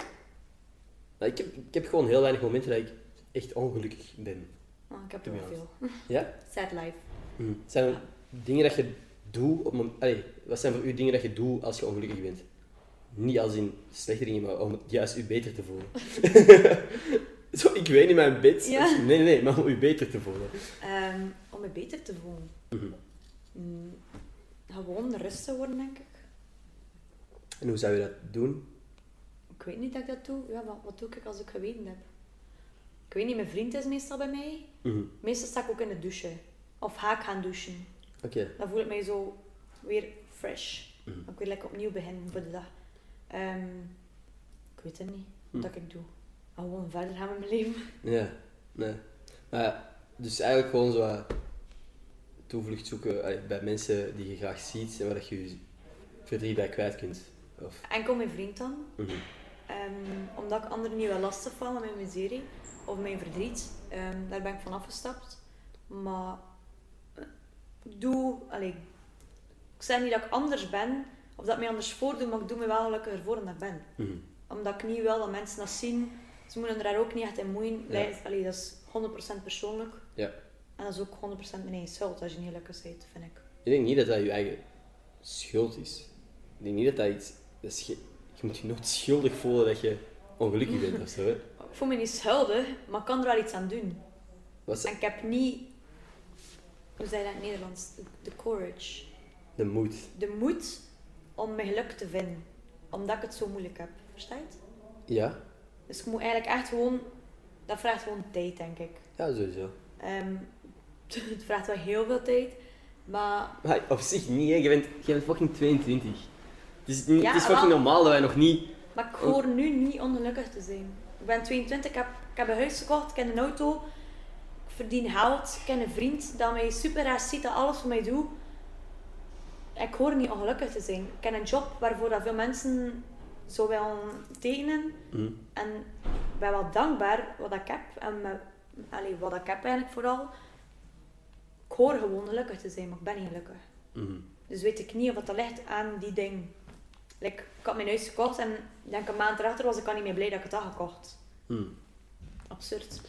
[SPEAKER 3] Maar ik, heb, ik heb gewoon heel weinig momenten dat ik echt ongelukkig ben.
[SPEAKER 2] Oh, ik heb
[SPEAKER 3] To
[SPEAKER 2] er
[SPEAKER 3] be
[SPEAKER 2] wel veel.
[SPEAKER 3] Ja?
[SPEAKER 2] Sad life.
[SPEAKER 3] Het zijn dingen dat je doet op mom- Allee, wat zijn voor u dingen dat je doet als je ongelukkig bent? Niet als in slechte dingen, maar om juist u beter te voelen. Zo, ik weet in mijn bed.
[SPEAKER 2] Ja.
[SPEAKER 3] Nee, nee, nee, maar om u beter te voelen.
[SPEAKER 2] Ehm, om me beter te voelen. Mm, gewoon rustig worden, denk ik.
[SPEAKER 3] En hoe zou je dat doen?
[SPEAKER 2] Ik weet niet dat ik dat doe. Ja, wat, wat doe ik als ik geweten heb? Ik weet niet, mijn vriend is meestal bij mij.
[SPEAKER 3] Mhm.
[SPEAKER 2] Meestal sta ik ook in de douche. Of ga ik gaan douchen.
[SPEAKER 3] Oké,
[SPEAKER 2] Dan voel ik mij zo weer fresh. Dan kan ik weer lekker opnieuw beginnen voor de dag. Ehm, ik weet het niet, wat dat ik doe. Gewoon verder gaan met mijn leven.
[SPEAKER 3] ja. Nee. Maar, dus eigenlijk gewoon zo eh, toevlucht zoeken allee, bij mensen die je graag ziet en waar dat je je verdriet bij kwijt kunt. Of,
[SPEAKER 2] Enkel mijn vriend dan.
[SPEAKER 3] Mhm.
[SPEAKER 2] Ehm, omdat ik anderen niet wil lastigvallen met mijn miserie of mijn verdriet. Ehm, daar ben ik van afgestapt. Maar eh, ik doe... Allee, ik zeg niet dat ik anders ben of dat ik mij anders voordoe, maar ik doe me wel gelukkiger voor dan ik ben.
[SPEAKER 3] Mhm.
[SPEAKER 2] Omdat ik niet wil dat mensen dat zien. Ze moeten er daar ook niet echt in moeien.
[SPEAKER 3] Ja.
[SPEAKER 2] Allee, dat is 100% persoonlijk.
[SPEAKER 3] Ja.
[SPEAKER 2] En dat is ook 100% mijn eigen schuld als je niet gelukkig bent, vind ik.
[SPEAKER 3] Ik denk niet dat dat je eigen schuld is. Ik denk niet dat dat iets... Dat is ge- je moet je nooit schuldig voelen dat je ongelukkig bent of zo. Hè.
[SPEAKER 2] Ik voel me niet schuldig, maar ik kan er wel iets aan doen.
[SPEAKER 3] Wat
[SPEAKER 2] En
[SPEAKER 3] is
[SPEAKER 2] ik heb niet, hoe zei je dat in het Nederlands? De courage.
[SPEAKER 3] de moed?
[SPEAKER 2] De moed om mijn geluk te vinden. Omdat ik het zo moeilijk heb. Versta je het?
[SPEAKER 3] Ja?
[SPEAKER 2] Dus ik moet eigenlijk echt gewoon... Dat vraagt gewoon tijd, denk ik.
[SPEAKER 3] Ja, sowieso.
[SPEAKER 2] Ehm, het vraagt wel heel veel tijd. Maar
[SPEAKER 3] Maar op zich niet, hè. Je bent, je bent fucking 22. Het is, niet,
[SPEAKER 2] Ja,
[SPEAKER 3] het is fucking
[SPEAKER 2] wel.
[SPEAKER 3] normaal dat wij nog niet...
[SPEAKER 2] Maar ik hoor nu niet ongelukkig te zijn. Ik ben 22, ik heb, ik heb een huis gekocht, ik heb een auto, ik verdien geld, ik heb een vriend dat mij super raar ziet, dat alles voor mij doet. Ik hoor niet ongelukkig te zijn. Ik heb een job waarvoor dat veel mensen zo wel tekenen.
[SPEAKER 3] Mhm.
[SPEAKER 2] En ik ben wel dankbaar wat ik heb. En me, allee, wat ik heb eigenlijk vooral. Ik hoor gewoon gelukkig te zijn, maar ik ben niet gelukkig.
[SPEAKER 3] Mhm.
[SPEAKER 2] Dus weet ik niet of dat ligt aan die ding. Like, ik had mijn huis gekocht en ik denk een maand erachter was ik al niet meer blij dat ik het had gekocht.
[SPEAKER 3] Mhm.
[SPEAKER 2] Absurd.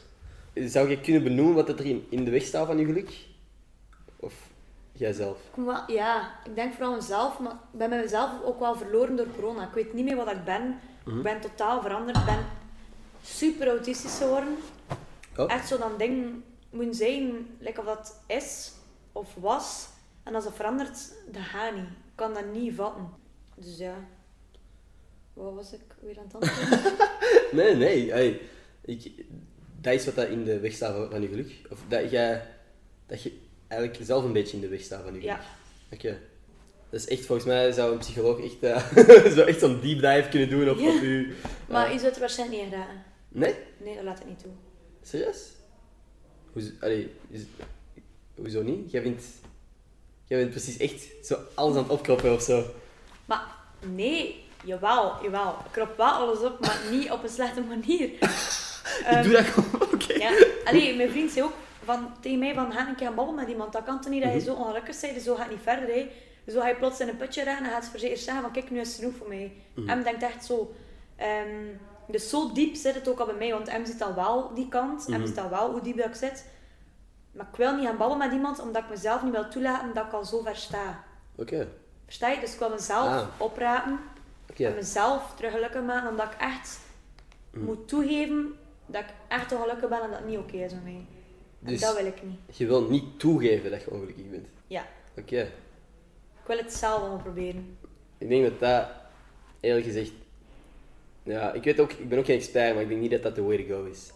[SPEAKER 3] Zou je kunnen benoemen wat dat er in, in de weg staat van je geluk? Of jijzelf?
[SPEAKER 2] Ik moet wel- ja, ik denk vooral aan mezelf, maar ik ben met mezelf ook wel verloren door corona. Ik weet niet meer wat ik ben. Ik ben totaal veranderd. Ik ben super autistisch geworden.
[SPEAKER 3] Oh.
[SPEAKER 2] Echt zo dan ding moet zijn, like of dat is of was. En als dat verandert, dat gaat niet. Ik kan dat niet vatten. Dus ja. Wat was ik weer aan het antwoorden?
[SPEAKER 3] Nee, nee. hey. Ik, dat is wat dat in de weg staat van, van je geluk. Of dat, jij, dat je eigenlijk zelf een beetje in de weg staat van je geluk.
[SPEAKER 2] Ja.
[SPEAKER 3] Oké. Dat is echt, volgens mij zou een psycholoog echt, eh, zou echt zo'n deep dive kunnen doen op,
[SPEAKER 2] Ja.
[SPEAKER 3] op u. Eh,
[SPEAKER 2] Maar je zou het waarschijnlijk niet raden.
[SPEAKER 3] Nee?
[SPEAKER 2] Nee, dat laat het niet toe.
[SPEAKER 3] Serieus? Hoezo, allee, is, hoezo niet? Jij vindt, jij bent precies echt zo alles aan het opkroppen of zo.
[SPEAKER 2] Maar nee, jawel, jawel. Ik krop wel alles op, maar niet op een slechte manier.
[SPEAKER 3] Ik
[SPEAKER 2] Ehm,
[SPEAKER 3] doe dat gewoon. Oké.
[SPEAKER 2] Ja. Allee, mijn vriend zei ook van, tegen mij van, ga een keer babbelen met iemand. Dat kan toch niet dat je zo ongelukkig bent, dus zo gaat het niet verder. Hè. Zo ga je plots in een putje rennen en gaat het voor zeker zeggen van, kijk, nu is het genoeg voor mij. Em denkt echt zo. Ehm, dus zo diep zit het ook al bij mij, want Em ziet al wel die kant. Em ziet al wel hoe diep dat ik zit. Maar ik wil niet gaan babbelen met iemand, omdat ik mezelf niet wil toelaten dat ik al zo ver sta.
[SPEAKER 3] Oké.
[SPEAKER 2] Versta je? Dus ik wil mezelf
[SPEAKER 3] Ah.
[SPEAKER 2] oprapen
[SPEAKER 3] Oké.
[SPEAKER 2] en mezelf terug gelukkig maken, omdat ik echt moet toegeven dat ik echt ongelukkig ben en dat het niet oké is met mij. En
[SPEAKER 3] Dus-
[SPEAKER 2] dat wil ik niet.
[SPEAKER 3] Je wilt niet toegeven dat je ongelukkig bent.
[SPEAKER 2] Ja.
[SPEAKER 3] Oké.
[SPEAKER 2] Ik wil het zelf allemaal proberen.
[SPEAKER 3] Ik denk dat dat, eerlijk gezegd, ja, ik weet ook, ik ben ook geen expert, maar ik denk niet dat dat de way to go is.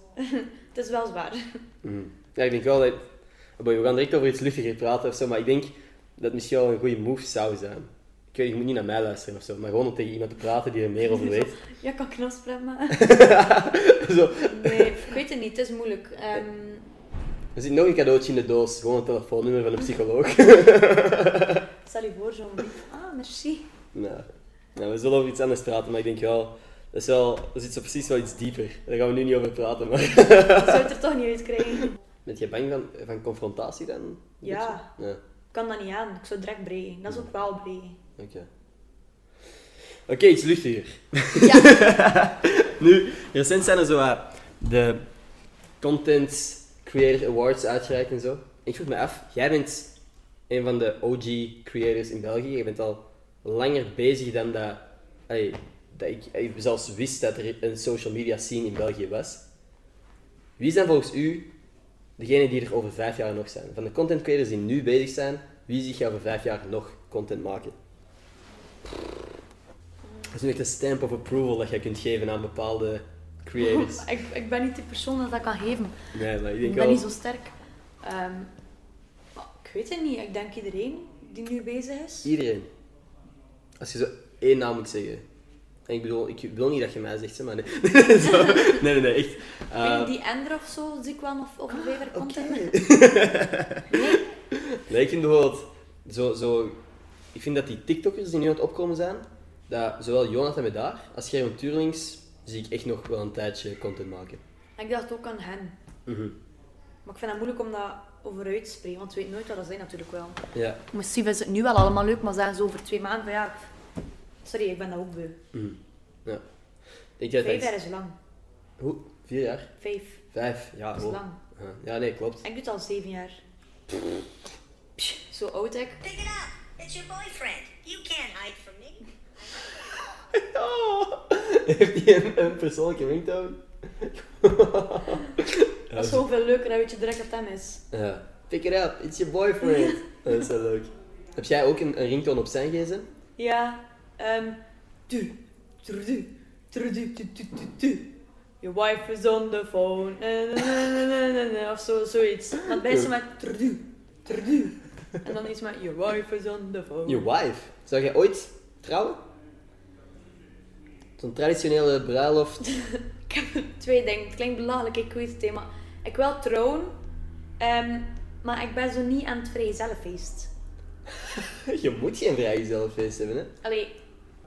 [SPEAKER 2] Het is wel zwaar.
[SPEAKER 3] Mm. Ja, ik denk wel dat, Boy, we gaan direct over iets luchtiger praten of zo, maar ik denk dat misschien wel een goede move zou zijn. Ik weet, je moet niet naar mij luisteren of zo, maar gewoon om tegen iemand te praten die er meer over weet.
[SPEAKER 2] Ja, ik kan knaspraat maken.
[SPEAKER 3] zo,
[SPEAKER 2] Nee, ik weet het niet. Het is moeilijk. Ehm,
[SPEAKER 3] er zit nog een cadeautje in de doos, gewoon een telefoonnummer van een psycholoog.
[SPEAKER 2] stel je voor zo'n brief. Ah, merci.
[SPEAKER 3] nou, nou, we zullen over iets anders praten, maar ik denk wel, dat is wel, dat zit zo precies wel iets dieper. Daar gaan we nu niet over praten, maar...
[SPEAKER 2] Ik zou het er toch niet uit krijgen.
[SPEAKER 3] Bent je bang van, van confrontatie dan? Een
[SPEAKER 2] Ja.
[SPEAKER 3] beetje? Ja.
[SPEAKER 2] Ik kan dat niet aan. Ik zou direct breken. Dat is ook wel breken.
[SPEAKER 3] Oké. Oké, iets luchtiger.
[SPEAKER 2] Ja.
[SPEAKER 3] Nu, recent zijn er zo wat de Content Creator Awards uitgereikt en zo. Ik vroeg me af, jij bent een van de OG creators in België. Je bent al langer bezig dan dat, allee, dat ik, ik zelfs wist dat er een social media scene in België was. Wie zijn volgens u degenen die er over vijf jaar nog zijn? Van de content creators die nu bezig zijn, wie ziet je over vijf jaar nog content maken? Dat is nu echt een stamp of approval dat jij kunt geven aan bepaalde creators.
[SPEAKER 2] ik, ik ben niet de persoon dat dat kan geven.
[SPEAKER 3] Nee, maar ik
[SPEAKER 2] Ik
[SPEAKER 3] denk
[SPEAKER 2] ben
[SPEAKER 3] wel...
[SPEAKER 2] niet zo sterk. Ehm, maar ik weet het niet. Ik denk iedereen die nu bezig is.
[SPEAKER 3] Iedereen. Als je zo één naam moet zeggen. En ik bedoel, ik wil niet dat je mij zegt, hè, maar nee. Zo. nee, nee, nee, echt.
[SPEAKER 2] Ik weet
[SPEAKER 3] Eh,
[SPEAKER 2] niet, die Ender of zo zie ik wel nog over vijf jaar
[SPEAKER 3] Ah, Oké.
[SPEAKER 2] content.
[SPEAKER 3] Nee, ik vind bijvoorbeeld, zo, zo, ik vind dat die TikTokkers die nu aan het opkomen zijn, dat zowel Jonathan Medaar als Gerben Tuurlings, zie ik echt nog wel een tijdje content maken.
[SPEAKER 2] En ik dacht ook aan hen.
[SPEAKER 3] Mhm.
[SPEAKER 2] Maar ik vind het moeilijk om dat over uit te spreken, want je weet nooit wat dat zijn natuurlijk wel.
[SPEAKER 3] Ja.
[SPEAKER 2] Misschien is het nu wel allemaal leuk, maar zijn ze over twee maanden van ja... Sorry, ik ben dat ook beu.
[SPEAKER 3] ja. Ik denk dat
[SPEAKER 2] Vijf jaar
[SPEAKER 3] dat...
[SPEAKER 2] is lang.
[SPEAKER 3] Hoe? Vier jaar?
[SPEAKER 2] Vijf
[SPEAKER 3] Vijf? Ja,
[SPEAKER 2] is
[SPEAKER 3] oh.
[SPEAKER 2] lang.
[SPEAKER 3] Ja. Ja, nee, klopt.
[SPEAKER 2] En ik doe het al zeven jaar. Psh, zo oud ik.
[SPEAKER 4] Pick it up. It's your boyfriend. You can't hide from me.
[SPEAKER 3] Oh. Heeft hij een, een persoonlijke ringtone?
[SPEAKER 2] Dat is zoveel leuker, dan weet je direct dat hem is.
[SPEAKER 3] Ja. Pick it up, it's your boyfriend. dat is wel leuk. Heb jij ook een, een ringtone op zijn gsm?
[SPEAKER 2] Ja, ehm. Du, trudu, trudu, tu, tu, tu, tu. Your wife is on the phone. Na, na, na, na, na, na, na, of zo, zoiets. Dan bij ze met trudu, trudu. En dan iets met your wife is on the phone.
[SPEAKER 3] Je wife. Zou jij ooit trouwen? Zo'n traditionele bruiloft.
[SPEAKER 2] Ik heb twee dingen. Het klinkt belachelijk, ik weet het, hè, maar ik wil trouwen. ehm, maar ik ben zo niet aan het vrijgezellenfeest.
[SPEAKER 3] Je moet geen vrijgezellenfeest hebben, hè?
[SPEAKER 2] Allee,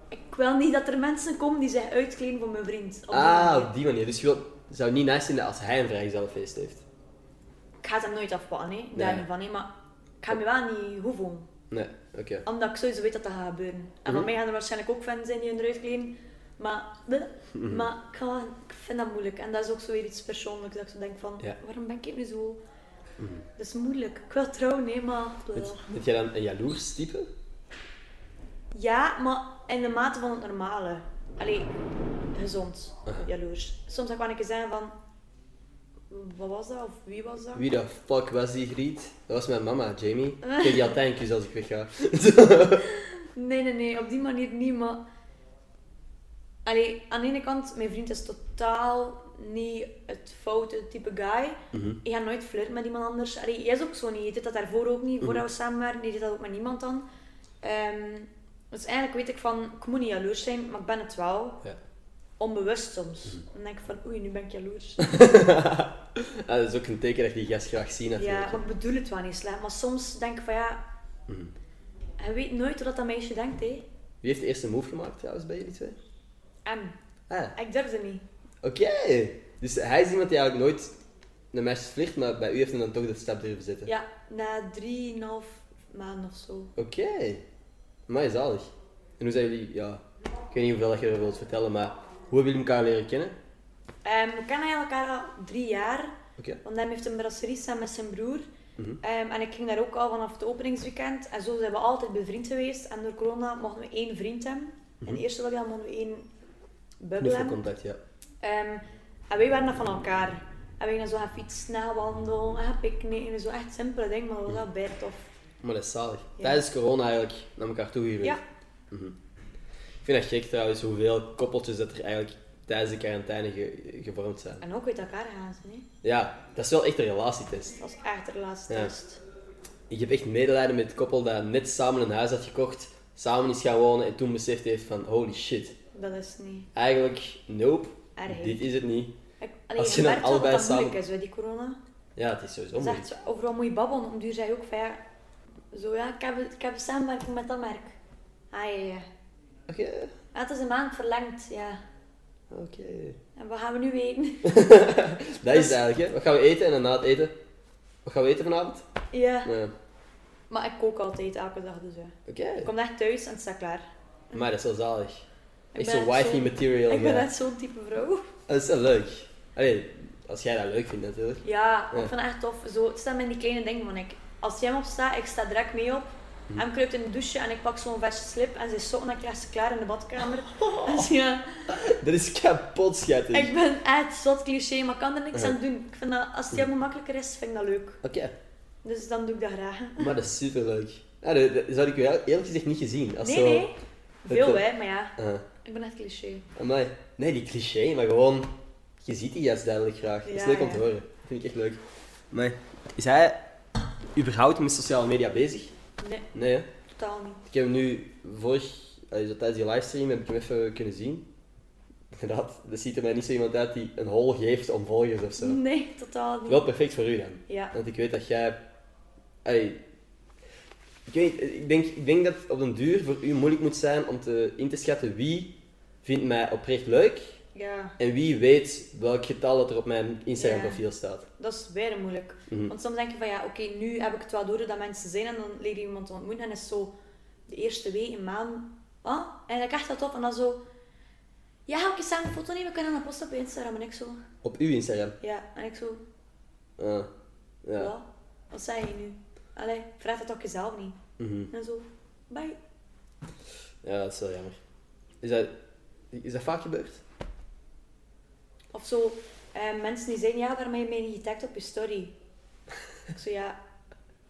[SPEAKER 2] ik wil niet dat er mensen komen die zich uitkleden voor mijn vriend. Op die
[SPEAKER 3] Ah,
[SPEAKER 2] manier.
[SPEAKER 3] op die manier. Dus je wilt, zou het niet nice vinden als hij een vrijgezellenfeest heeft.
[SPEAKER 2] Ik ga het hem nooit afpakken, hè. daar
[SPEAKER 3] Nee.
[SPEAKER 2] niet van, hè. maar ik ga me wel niet hoeven.
[SPEAKER 3] Nee, oké.
[SPEAKER 2] Omdat ik sowieso weet dat dat gaat gebeuren. En
[SPEAKER 3] Mhm.
[SPEAKER 2] van mij gaan er waarschijnlijk ook fans zijn die hun eruit kleden. Maar, bleh.
[SPEAKER 3] Mhm.
[SPEAKER 2] maar ik, ga- ik vind dat moeilijk. En dat is ook zo weer iets persoonlijks. Dat ik zo denk van,
[SPEAKER 3] Ja. Mhm.
[SPEAKER 2] waarom ben ik nu zo... Dat is moeilijk. Ik wil trouwen, hè, maar... bleh.
[SPEAKER 3] Heb jij dan een jaloers type?
[SPEAKER 2] Ja, maar in de mate van het normale. Allee, gezond,
[SPEAKER 3] Aha.
[SPEAKER 2] jaloers. Soms kan ik wel een keer zeggen van... Wat was dat? Of wie was dat?
[SPEAKER 3] Wie de fuck was die griet? Dat was mijn mama, Jamie. Ik geef die altijd een kus als ik wegga.
[SPEAKER 2] Nee, nee, nee. Op die manier niet, maar... Allee, aan de ene kant, mijn vriend is totaal niet het foute type guy. Ik ga nooit flirten met iemand anders. Allee, jij is ook zo niet. Je deed dat daarvoor ook niet, voordat we samen waren. Je deed dat ook met niemand dan. Ehm, dus eigenlijk weet ik van, ik moet niet jaloers zijn, maar ik ben het wel.
[SPEAKER 3] Ja.
[SPEAKER 2] Onbewust soms. Dan denk ik van, oei, nu ben ik jaloers.
[SPEAKER 3] Ah, dat is ook een teken dat die gast graag zien
[SPEAKER 2] ja,
[SPEAKER 3] natuurlijk.
[SPEAKER 2] maar ik bedoel het wel niet slecht. Maar soms denk ik van, ja... Je weet nooit wat dat meisje denkt, hè.
[SPEAKER 3] Wie heeft de eerste move gemaakt trouwens bij jullie twee?
[SPEAKER 2] En,
[SPEAKER 3] Ah,
[SPEAKER 2] ik durfde niet.
[SPEAKER 3] oké. Dus hij is iemand die eigenlijk nooit naar meisjes flirt, maar bij u heeft hij dan toch de stap durven zetten.
[SPEAKER 2] Ja, na drieënhalf maanden of zo.
[SPEAKER 3] Oké. Maar zalig. En hoe zijn jullie, ja, ik weet niet hoeveel dat je erover wilt vertellen, maar hoe hebben jullie elkaar leren kennen?
[SPEAKER 2] Ehm, we kennen eigenlijk elkaar al drie jaar.
[SPEAKER 3] Oké.
[SPEAKER 2] Want hij heeft een brasserie samen met zijn broer. Ehm, en ik ging daar ook al vanaf het openingsweekend. En zo zijn we altijd bevriend geweest. En door corona mochten we één vriend hebben. In het eerste lockdown mochten we één bubbel hebben.
[SPEAKER 3] Knuffelcontact, ja.
[SPEAKER 2] Ehm, en wij waren dat van elkaar. En we gingen zo gaan fietsen, gaan wandelen, en gaan picknicken. Zo echt simpele dingen, maar dat was wel bij tof.
[SPEAKER 3] Maar dat is zalig.
[SPEAKER 2] Ja.
[SPEAKER 3] Tijdens corona eigenlijk naar elkaar toegegroeid.
[SPEAKER 2] Ja,
[SPEAKER 3] Ik vind dat gek trouwens, hoeveel koppeltjes dat er eigenlijk tijdens de quarantaine ge- gevormd zijn.
[SPEAKER 2] en ook uit elkaar gaan ze. hè.
[SPEAKER 3] Ja, dat is wel echt een
[SPEAKER 2] Dat
[SPEAKER 3] relatietest.
[SPEAKER 2] was echt de laatste
[SPEAKER 3] Ja.
[SPEAKER 2] test.
[SPEAKER 3] Ik heb echt medelijden met het koppel dat net samen een huis had gekocht, samen is gaan wonen en toen beseft heeft van holy shit,
[SPEAKER 2] Dat is niet...
[SPEAKER 3] eigenlijk nope,
[SPEAKER 2] Erg.
[SPEAKER 3] dit is het niet.
[SPEAKER 2] Ik, allee,
[SPEAKER 3] Als
[SPEAKER 2] Als
[SPEAKER 3] je
[SPEAKER 2] je
[SPEAKER 3] dan
[SPEAKER 2] merkt wel dat
[SPEAKER 3] allebei
[SPEAKER 2] dat moeilijk
[SPEAKER 3] samen-
[SPEAKER 2] is, hè, die corona.
[SPEAKER 3] Ja, het is sowieso
[SPEAKER 2] Dat is
[SPEAKER 3] moeilijk.
[SPEAKER 2] echt zo- overal moet je babbelen. Om duur zei je ook van ja, zo ja, ik heb, ik heb een samenwerking met dat merk. Ah ja, ja.
[SPEAKER 3] Oké,
[SPEAKER 2] Ah, het is een maand verlengd, ja.
[SPEAKER 3] oké.
[SPEAKER 2] En wat gaan we nu weten? Dus
[SPEAKER 3] Dat is het eigenlijk, hè. Wat gaan we eten en dan na het eten? Wat gaan we eten vanavond?
[SPEAKER 2] ja.
[SPEAKER 3] Nee.
[SPEAKER 2] Maar ik kook altijd elke dag, dus ja.
[SPEAKER 3] Oké,
[SPEAKER 2] Ik kom echt thuis en het staat klaar.
[SPEAKER 3] maar dat is wel zalig.
[SPEAKER 2] Ik
[SPEAKER 3] Echt
[SPEAKER 2] ben
[SPEAKER 3] zo
[SPEAKER 2] echt
[SPEAKER 3] wifey
[SPEAKER 2] zo-
[SPEAKER 3] material.
[SPEAKER 2] Ik ben
[SPEAKER 3] ja.
[SPEAKER 2] echt zo'n type vrouw.
[SPEAKER 3] Dat is wel leuk. Allee, als jij dat leuk vindt natuurlijk.
[SPEAKER 2] Ja,
[SPEAKER 3] Ja.
[SPEAKER 2] ik vind het echt tof. Zo, het staat me in die kleine dingen van ik. Als jij hem opstaat, ik sta direct mee op.
[SPEAKER 3] Mhm.
[SPEAKER 2] Hem kruipt in de douche en ik pak zo'n vestje slip en zijn sokken en ik leg ze klaar in de badkamer. Dus ja,
[SPEAKER 3] Dat is kapot schattig.
[SPEAKER 2] ik ben echt zot cliché, maar ik kan er niks
[SPEAKER 3] Ja.
[SPEAKER 2] aan doen. Ik vind dat, als het helemaal makkelijker is, vind ik dat leuk.
[SPEAKER 3] Oké,
[SPEAKER 2] Dus dan doe ik dat graag.
[SPEAKER 3] maar dat is superleuk. Ja, dat, dat- dat had ik wel eerlijk gezegd niet gezien. Als
[SPEAKER 2] Nee,
[SPEAKER 3] zo...
[SPEAKER 2] nee. Veel
[SPEAKER 3] dat-
[SPEAKER 2] hè, maar ja.
[SPEAKER 3] Ah,
[SPEAKER 2] Ik ben echt cliché.
[SPEAKER 3] amai. Nee, die cliché, maar gewoon... Je ziet die juist duidelijk graag. dat is
[SPEAKER 2] Ja,
[SPEAKER 3] leuk om te
[SPEAKER 2] ja.
[SPEAKER 3] horen. Dat vind ik echt leuk. Maar is hij überhaupt met sociale media bezig?
[SPEAKER 2] Nee,
[SPEAKER 3] Nee, hè?
[SPEAKER 2] totaal niet.
[SPEAKER 3] Ik heb hem nu vorig, eh, zo tijdens die livestream, heb ik hem even kunnen zien. Inderdaad, dat ziet er mij niet zo iemand uit die een hol geeft om volgers of zo.
[SPEAKER 2] Nee, totaal niet.
[SPEAKER 3] Wel perfect voor u dan.
[SPEAKER 2] Ja.
[SPEAKER 3] Want ik weet dat jij. Ey, ik, weet, ik, denk, ik denk dat het op den duur voor u moeilijk moet zijn om te, in te schatten wie vindt mij oprecht leuk
[SPEAKER 2] Ja,
[SPEAKER 3] en wie weet welk getal dat er op mijn Instagram profiel staat.
[SPEAKER 2] dat is weer moeilijk.
[SPEAKER 3] Mhm.
[SPEAKER 2] Want soms denk je van ja, oké, nu heb ik het wel door dat mensen zijn en dan leer je iemand te ontmoeten en is zo de eerste week, een maand. Ah, en ik echt dat top en dan zo. Ja, ga ik eens samen een foto nemen, kunnen we dan posten op Instagram en ik zo.
[SPEAKER 3] Op uw Instagram.
[SPEAKER 2] Ja, en ik zo.
[SPEAKER 3] Ah,
[SPEAKER 2] Ja.
[SPEAKER 3] ja.
[SPEAKER 2] Wat zei je nu? Allee, vraag dat toch jezelf niet.
[SPEAKER 3] Mhm.
[SPEAKER 2] En zo, bye.
[SPEAKER 3] ja, dat is wel jammer. Is dat, is dat vaak gebeurd?
[SPEAKER 2] Of zo, eh, mensen die zeggen, ja, waarom heb je mij niet getagd op je story? ik zo, ja,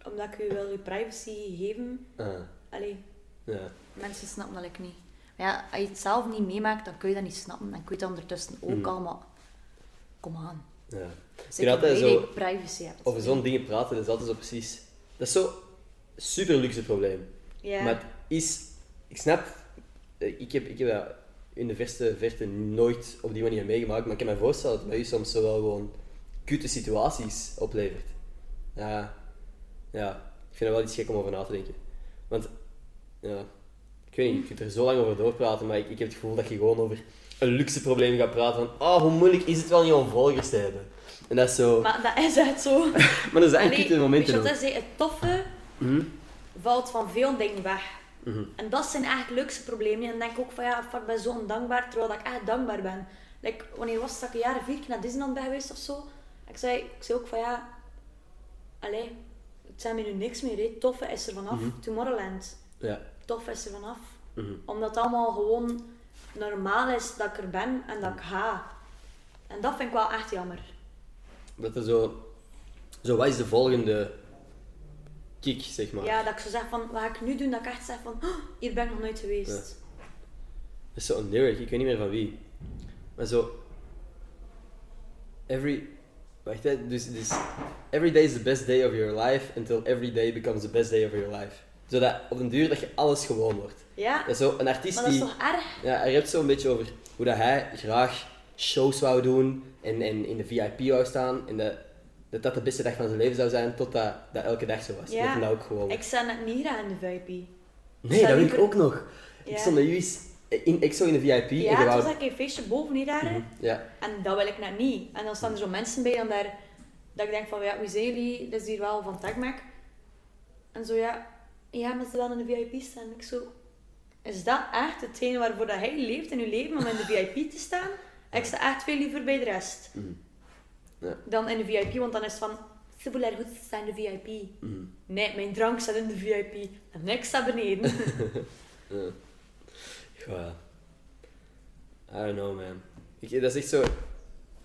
[SPEAKER 2] omdat ik u wil je privacy geven.
[SPEAKER 3] Ah,
[SPEAKER 2] Allee,
[SPEAKER 3] ja.
[SPEAKER 2] mensen snappen dat ik niet. Maar ja, als je het zelf niet meemaakt, dan kun je dat niet snappen. Dan kun je het ondertussen ook allemaal... Kom aan.
[SPEAKER 3] Mhm. ja. Je
[SPEAKER 2] Zeker
[SPEAKER 3] had
[SPEAKER 2] jij
[SPEAKER 3] dat
[SPEAKER 2] die
[SPEAKER 3] zo
[SPEAKER 2] privacy hebt.
[SPEAKER 3] over zo'n dingen praten, dat is altijd zo precies. Dat is zo'n super luxe probleem.
[SPEAKER 2] Ja.
[SPEAKER 3] Maar het is, ik snap, eh, ik heb, ik heb dat in de verste verte nooit op die manier meegemaakt, maar ik kan me voorstellen dat het bij u soms zo wel gewoon kutte situaties oplevert. Ja, ja, ik vind dat wel iets gek om over na te denken. Want, ja, ik weet niet, je kunt er zo lang over doorpraten, maar ik, ik heb het gevoel dat je gewoon over een luxe probleem gaat praten van, oh, hoe moeilijk is het wel niet om volgers te hebben? En dat is zo, maar,
[SPEAKER 2] Maar dat is echt zo.
[SPEAKER 3] dat zijn
[SPEAKER 2] Allee,
[SPEAKER 3] kutte
[SPEAKER 2] weet je wat
[SPEAKER 3] momenten. ook. Mhm.
[SPEAKER 2] dat is, hè? het toffe valt van veel dingen weg. En dat zijn eigenlijk de leukste problemen. En dan denk ik ook van ja, fuck, ik ben zo ondankbaar, terwijl dat ik echt dankbaar ben. Like, wanneer was het dat ik een jaar of vier keer naar Disneyland ben geweest of zo? Ik zei, ik zei ook van ja, allee, het zijn me nu niks meer. Hè. Het Toffe is er vanaf.
[SPEAKER 3] Mhm.
[SPEAKER 2] Tomorrowland,
[SPEAKER 3] Ja,
[SPEAKER 2] het toffe is er vanaf.
[SPEAKER 3] Mhm.
[SPEAKER 2] Omdat het allemaal gewoon normaal is dat ik er ben en dat ik ga. En dat vind ik wel echt jammer.
[SPEAKER 3] dat er zo, zo, wat is de volgende kick, zeg maar?
[SPEAKER 2] Ja, dat ik zo zeg van, wat ga ik nu doen? Dat ik echt zeg van, "Oh, hier ben ik nog nooit geweest.
[SPEAKER 3] Dat is zo'n lyric, ik weet niet meer van wie. Maar zo. Every. Wacht, hè, dus, dus. Every day is the best day of your life until every day becomes the best day of your life. Zodat op den duur dat je alles gewoon wordt.
[SPEAKER 2] Ja,
[SPEAKER 3] Dat is zo, een artiest
[SPEAKER 2] maar dat is
[SPEAKER 3] die.
[SPEAKER 2] toch erg?
[SPEAKER 3] Ja, hij hebt zo'n beetje over hoe dat hij graag shows wou doen en, en in de VIP wou staan. En dat, dat dat de beste dag van zijn leven zou zijn, totdat dat elke dag zo was.
[SPEAKER 2] Ja.
[SPEAKER 3] Dat hij dat ook gewoon
[SPEAKER 2] Ik sta net niet aan de VIP.
[SPEAKER 3] Nee,
[SPEAKER 2] Zou
[SPEAKER 3] dat
[SPEAKER 2] die
[SPEAKER 3] weet ik
[SPEAKER 2] per-
[SPEAKER 3] ook nog. Ik
[SPEAKER 2] Ja.
[SPEAKER 3] stond bij jullie in, ik zo in de VIP en
[SPEAKER 2] Ja,
[SPEAKER 3] je
[SPEAKER 2] toen
[SPEAKER 3] wou-
[SPEAKER 2] was ik een feestje boven hier
[SPEAKER 3] Mhm.
[SPEAKER 2] daar.
[SPEAKER 3] Ja,
[SPEAKER 2] En dat wil ik net niet. En dan staan er zo mensen bij dan daar, dat ik denk van, ja, wie zijn jullie? Dat is hier wel van TechMac. En zo, ja, ja, maar ze willen in de VIP staan. Ik zo, is dat echt hetgene waarvoor dat hij leeft in uw leven, om in de VIP te staan? Ik sta echt veel liever bij de rest.
[SPEAKER 3] Ja.
[SPEAKER 2] Dan in de VIP, want dan is het van, ze willen goed staan in de VIP. Nee, mijn drank staat in de VIP. En ik sta beneden.
[SPEAKER 3] Ja. I don't know, man. Ik, dat is echt zo...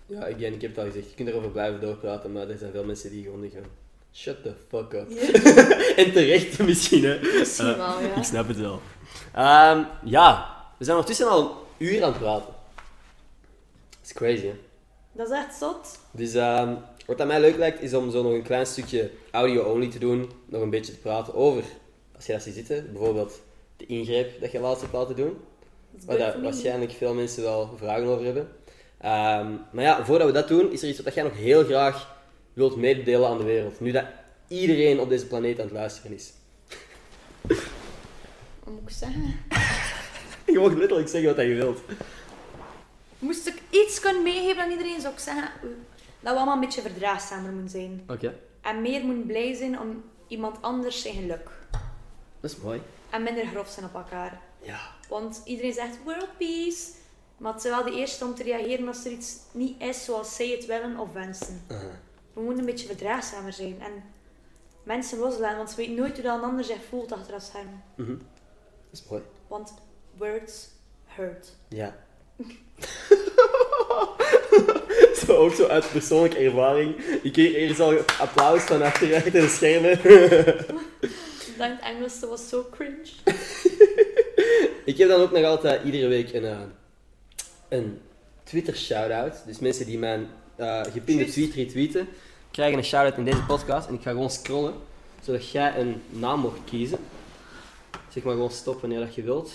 [SPEAKER 3] Ja, again, ik heb het al gezegd. Je kunt erover blijven doorpraten, maar er zijn veel mensen die gewoon denken... Shut the fuck up. en terecht misschien, hè.
[SPEAKER 2] Misschien
[SPEAKER 3] Eh,
[SPEAKER 2] wel, ja.
[SPEAKER 3] Ik snap het wel. Ehm, ja, we zijn ondertussen al een uur aan het praten. Dat is crazy, hè.
[SPEAKER 2] Dat is echt zot.
[SPEAKER 3] Dus ehm, wat aan mij leuk lijkt, is om zo nog een klein stukje audio-only te doen. Nog een beetje te praten over, als je dat ziet zitten, bijvoorbeeld de ingreep dat je laatst hebt laten doen.
[SPEAKER 2] Dat is
[SPEAKER 3] Waar
[SPEAKER 2] good
[SPEAKER 3] daar
[SPEAKER 2] for me.
[SPEAKER 3] waarschijnlijk veel mensen wel vragen over hebben. Ehm, maar ja, voordat we dat doen, is er iets wat jij nog heel graag wilt mededelen aan de wereld. Nu dat iedereen op deze planeet aan het luisteren is.
[SPEAKER 2] Wat moet ik zeggen?
[SPEAKER 3] Je mag letterlijk zeggen wat je wilt.
[SPEAKER 2] Moest ik iets kunnen meegeven aan iedereen, zou ik zeggen eh, dat we allemaal een beetje verdraagzamer moeten zijn.
[SPEAKER 3] Oké.
[SPEAKER 2] En meer moeten blij zijn om iemand anders zijn geluk.
[SPEAKER 3] Dat is mooi.
[SPEAKER 2] En minder grof zijn op elkaar.
[SPEAKER 3] Ja.
[SPEAKER 2] Want iedereen zegt world peace. Maar het zijn wel de eerste om te reageren als er iets niet is zoals zij het willen of wensen. We moeten een beetje verdraagzamer zijn en mensen loslaten, want ze weten nooit hoe dat een ander zich voelt achter dat scherm.
[SPEAKER 3] Dat is mooi.
[SPEAKER 2] Want words hurt.
[SPEAKER 3] Ja. zo, ook zo uit persoonlijke ervaring. Ik kreeg eerst al applaus van achter achter de schermen.
[SPEAKER 2] Dank het Engels, dat was zo cringe.
[SPEAKER 3] ik heb dan ook nog altijd iedere week een, eh, een Twitter shout-out. Dus mensen die mijn eh, gepinde
[SPEAKER 2] Juist.
[SPEAKER 3] tweet retweeten, krijgen een shout-out in deze podcast. En ik ga gewoon scrollen, zodat jij een naam mag kiezen. Zeg maar gewoon stop wanneer dat je wilt.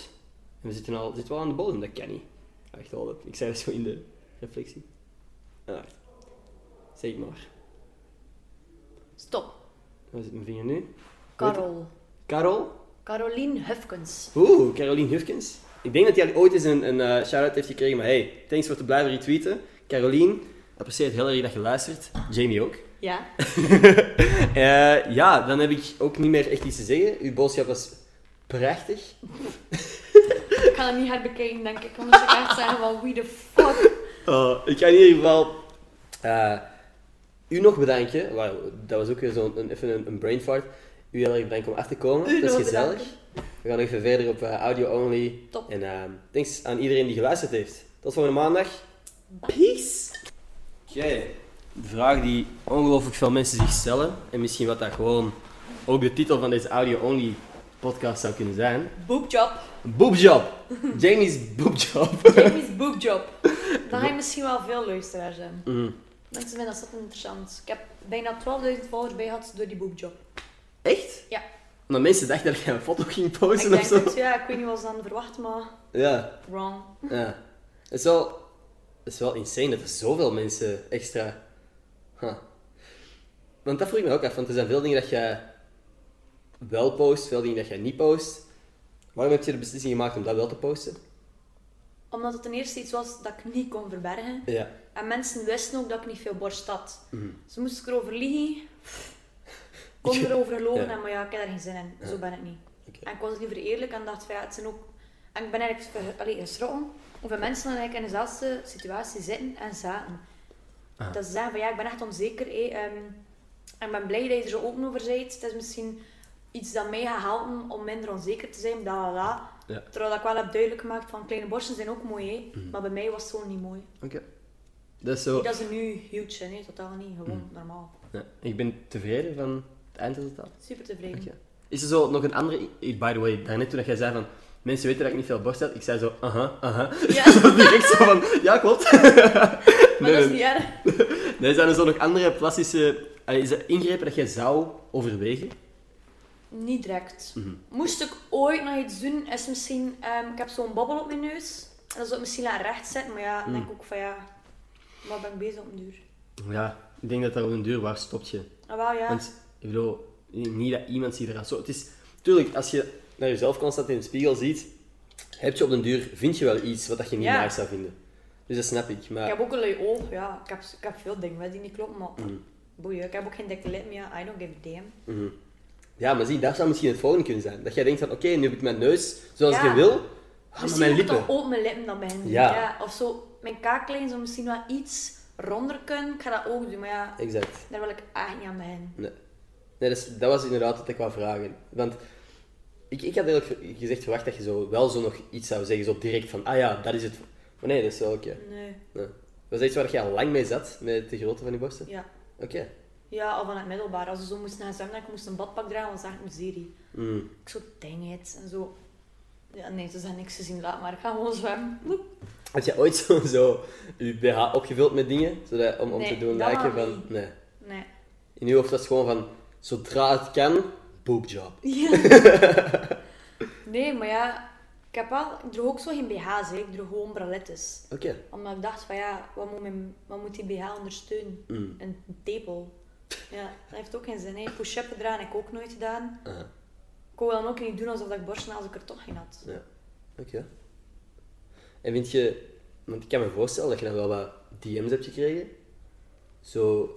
[SPEAKER 3] En we zitten, al, zitten wel aan de bodem, dat kan niet. Ah, Echt al, dat- ik zei dat zo in de reflectie. Ah, wacht. zeg het maar.
[SPEAKER 2] Stop.
[SPEAKER 3] Waar zit mijn vinger nu?
[SPEAKER 2] Carol.
[SPEAKER 3] Karel?
[SPEAKER 2] Caroline Hufkens.
[SPEAKER 3] Oeh, Caroline Hufkens. Ik denk dat hij al ooit eens een, een eh, shout-out heeft gekregen, maar hey, thanks voor te blijven retweeten. Caroline, apprecieer het heel erg dat je luistert. Jamie ook.
[SPEAKER 2] Ja.
[SPEAKER 3] Eh, ja, dan heb ik ook niet meer echt iets te zeggen. Uw boodschap was prachtig.
[SPEAKER 2] Ik kan het niet herbekijken, denk ik. Anders zou ik echt zeggen van wie the fuck.
[SPEAKER 3] Oh, ik ga in ieder geval eh, u nog bedanken. Wauw, dat was ook weer zo'n een, even een, een brain fart. U heel erg bedankt om af te komen.
[SPEAKER 2] U
[SPEAKER 3] Het is
[SPEAKER 2] nog
[SPEAKER 3] gezellig.
[SPEAKER 2] bedanken.
[SPEAKER 3] We gaan nog even verder op eh, audio only.
[SPEAKER 2] Top.
[SPEAKER 3] En ehm, thanks aan iedereen die geluisterd heeft. Tot volgende maandag. Peace. Oké. De vraag die ongelooflijk veel mensen zich stellen, en misschien wat dat gewoon ook de titel van deze audio only podcast zou kunnen zijn.
[SPEAKER 2] Boobjob.
[SPEAKER 3] Boobjob. Jamie's boobjob.
[SPEAKER 2] Jamie's boobjob. Dan ga je misschien wel veel luisteraars hebben. Mensen vinden dat zo interessant. Ik heb bijna 12.000 volgers bij gehad door die boobjob.
[SPEAKER 3] Echt?
[SPEAKER 2] Ja.
[SPEAKER 3] Omdat mensen dachten dat jij een foto ging
[SPEAKER 2] Ik
[SPEAKER 3] posten
[SPEAKER 2] denk
[SPEAKER 3] of zo.
[SPEAKER 2] dat, ja, ik weet niet wat ze dan verwacht, maar
[SPEAKER 3] Ja,
[SPEAKER 2] wrong.
[SPEAKER 3] ja. Het is wel, het is wel insane dat er zoveel mensen extra. Huh. Want dat vroeg ik me ook af, want er zijn veel dingen dat jij wel post, veel dingen dat jij niet post. Waarom heb je de beslissing gemaakt om dat wel te posten?
[SPEAKER 2] Omdat het ten eerste iets was dat ik niet kon verbergen.
[SPEAKER 3] Ja.
[SPEAKER 2] En mensen wisten ook dat ik niet veel borst had.
[SPEAKER 3] Mhm.
[SPEAKER 2] Ze moesten erover liegen. Ik kon erover geloven,
[SPEAKER 3] Ja.
[SPEAKER 2] en maar ja, ik heb daar geen zin in. Zo ben ik niet.
[SPEAKER 3] Oké.
[SPEAKER 2] En ik was liever eerlijk en dacht van ja, het zijn ook... En ik ben eigenlijk ver- allee, geschrokken hoeveel mensen dan eigenlijk in dezelfde situatie zitten en zaten.
[SPEAKER 3] Ah.
[SPEAKER 2] Dat ze zeggen van ja, ik ben echt onzeker. hé, ehm, en ik ben blij dat je er zo open over bent. Het is misschien iets dat mij gaat helpen om minder onzeker te zijn, bla bla bla.
[SPEAKER 3] Ja. Mhm.
[SPEAKER 2] Terwijl dat ik wel heb duidelijk gemaakt van kleine borsten zijn ook mooi, hé. maar bij mij was het zo niet mooi.
[SPEAKER 3] Oké. Dat is zo.
[SPEAKER 2] Niet dat ze nu huge zijn, hé, totaal niet. Gewoon
[SPEAKER 3] Mhm.
[SPEAKER 2] normaal.
[SPEAKER 3] Ja, ik ben tevreden van het eindresultaat.
[SPEAKER 2] Super tevreden.
[SPEAKER 3] Oké. Is er zo nog een andere... i- By the way, daarnet toen dat jij zei van... Mensen weten dat ik niet veel borst heb. Ik zei zo, aha, aha.
[SPEAKER 2] Ja.
[SPEAKER 3] Zo direct zo van, ja klopt.
[SPEAKER 2] Maar dat
[SPEAKER 3] nee.
[SPEAKER 2] is niet erg.
[SPEAKER 3] Nee, zijn er zo nog andere plastische... allee, Is er ingrepen dat jij zou overwegen?
[SPEAKER 2] Niet direct.
[SPEAKER 3] Mhm.
[SPEAKER 2] Moest ik ooit nog iets doen, is misschien... ehm, ik heb zo'n bobbel op mijn neus. En dat zou ik misschien laten rechtzetten. Maar ja, dan
[SPEAKER 3] Mhm.
[SPEAKER 2] denk ik ook van ja... Wat ben ik bezig op een duur?
[SPEAKER 3] Ja, ik denk dat dat op een duur waar stopt je.
[SPEAKER 2] Ah, wel ja.
[SPEAKER 3] Want, ik bedoel, niet dat iemand ziet eraan zo... Het is... Tuurlijk, als je naar jezelf constant in de spiegel ziet... Heb je op den duur... Vind je wel iets wat dat je niet
[SPEAKER 2] Ja.
[SPEAKER 3] naar zou vinden. Dus dat snap ik.
[SPEAKER 2] Ik
[SPEAKER 3] Maar
[SPEAKER 2] heb ook een lui oog. Ja, ik heb, ik heb veel dingen hè, die niet kloppen, maar...
[SPEAKER 3] Mhm.
[SPEAKER 2] Boeien, ik heb ook geen dikke lip meer. I don't give a damn.
[SPEAKER 3] Ja, maar zie, daar zou misschien het volgende kunnen zijn. Dat jij denkt van, oké, nu heb ik mijn neus zoals
[SPEAKER 2] Ja.
[SPEAKER 3] ik wil. Ah, maar
[SPEAKER 2] misschien
[SPEAKER 3] mijn
[SPEAKER 2] moet ik
[SPEAKER 3] lippen.
[SPEAKER 2] toch ook mijn lippen dan beginnen doen.
[SPEAKER 3] Ja.
[SPEAKER 2] Ja. Of zo, mijn kaaklijn zou misschien wel iets ronder kunnen. Ik ga dat ook doen, maar ja...
[SPEAKER 3] Exact.
[SPEAKER 2] Daar wil ik eigenlijk niet aan beginnen.
[SPEAKER 3] Nee, nee dat, is- dat was inderdaad wat ik wou vragen. Want ik, ik had eerlijk gezegd verwacht dat je zo wel zo nog iets zou zeggen, zo direct van, ah ja, dat is het. Maar nee, dat is wel oké.
[SPEAKER 2] Nee.
[SPEAKER 3] Nee. Was dat iets waar jij al lang mee zat, met de grootte van je borsten?
[SPEAKER 2] Ja.
[SPEAKER 3] Oké.
[SPEAKER 2] Ja, al van het middelbaar. Als ze zo moesten gaan zwemmen, ik moest een badpak dragen, want ze zagen een serie.
[SPEAKER 3] Mm.
[SPEAKER 2] Ik zo, dang it. En zo. Ja, nee, ze zijn niks te zien, laat maar. Ik ga gewoon zwemmen. Oep.
[SPEAKER 3] Had jij ooit zo, zo je BH opgevuld met dingen, zodat, om, om
[SPEAKER 2] Nee,
[SPEAKER 3] te doen
[SPEAKER 2] dat mag
[SPEAKER 3] lijken van...
[SPEAKER 2] niet.
[SPEAKER 3] Nee.
[SPEAKER 2] Nee.
[SPEAKER 3] In je hoofd was het gewoon van, zodra het kan, boobjob.
[SPEAKER 2] Ja. nee, maar ja. Ik heb wel... Ik droeg ook zo geen BH's, hè. Ik droeg gewoon bralettes.
[SPEAKER 3] Oké.
[SPEAKER 2] Omdat ik dacht van, ja, wat moet, mijn, wat moet die BH ondersteunen?
[SPEAKER 3] Mm.
[SPEAKER 2] Een tepel. Ja, dat heeft ook geen zin, hè. Push-up gedaan, heb ik ook nooit gedaan.
[SPEAKER 3] Ah,
[SPEAKER 2] Ik wou dan ook niet doen alsof ik borsten had, als ik er toch geen had.
[SPEAKER 3] ja. Oké. En vind je... Want ik kan me voorstellen dat je dan wel wat DM's hebt gekregen. Zo...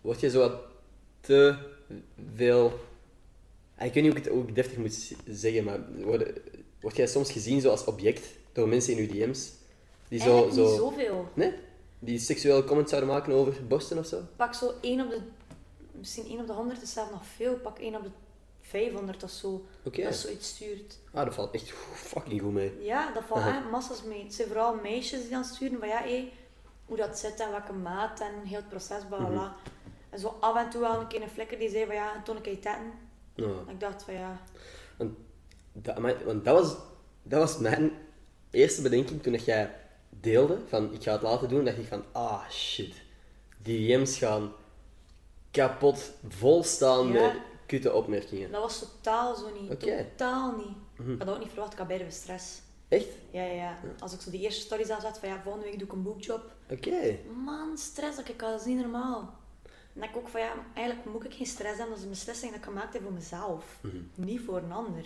[SPEAKER 3] Word je zo wat te veel... Ah, Ik weet niet hoe ik het ook deftig moet z- zeggen, maar worden, Word jij soms gezien zo als object door mensen in uw DM's? Die zo,
[SPEAKER 2] Eigenlijk
[SPEAKER 3] zo...
[SPEAKER 2] niet zoveel.
[SPEAKER 3] Nee? Die seksuele comments zouden maken over borsten of zo?
[SPEAKER 2] Pak zo één op de... Misschien één op de honderd is zelf nog veel. Pak één op de 500 of zo.
[SPEAKER 3] Oké.
[SPEAKER 2] Dat zoiets stuurt.
[SPEAKER 3] Ah, dat valt echt fucking goed mee.
[SPEAKER 2] Ja, dat valt
[SPEAKER 3] Aha.
[SPEAKER 2] echt massas mee. Het zijn vooral meisjes die dan sturen van ja, hé, hoe dat zit en welke maat en heel het proces, bla bla. bla.
[SPEAKER 3] Mhm.
[SPEAKER 2] En zo af en toe wel een keer een flikker die zei van ja, toen ik je tetten.
[SPEAKER 3] Ja.
[SPEAKER 2] En ik dacht van ja,
[SPEAKER 3] Want dat, amai, want dat, was, dat was mijn eerste bedenking toen dat jij deelde van ik ga het laten doen. dacht ik van ah shit, die DM's gaan kapot volstaan
[SPEAKER 2] Ja.
[SPEAKER 3] met kutte opmerkingen.
[SPEAKER 2] dat was totaal zo niet.
[SPEAKER 3] Oké. Mhm.
[SPEAKER 2] Totaal niet. Ik had dat ook niet verwacht, ik had bijna weer stress.
[SPEAKER 3] Echt?
[SPEAKER 2] Ja, ja, ja. Als ik zo die eerste stories afzet van ja, volgende week doe ik een boekjob.
[SPEAKER 3] Oké.
[SPEAKER 2] Man, stress dat ik had, dat is niet normaal. En ik ook van ja, eigenlijk moet ik geen stress hebben, dat is een beslissing dat ik gemaakt heb voor mezelf. Niet voor een ander.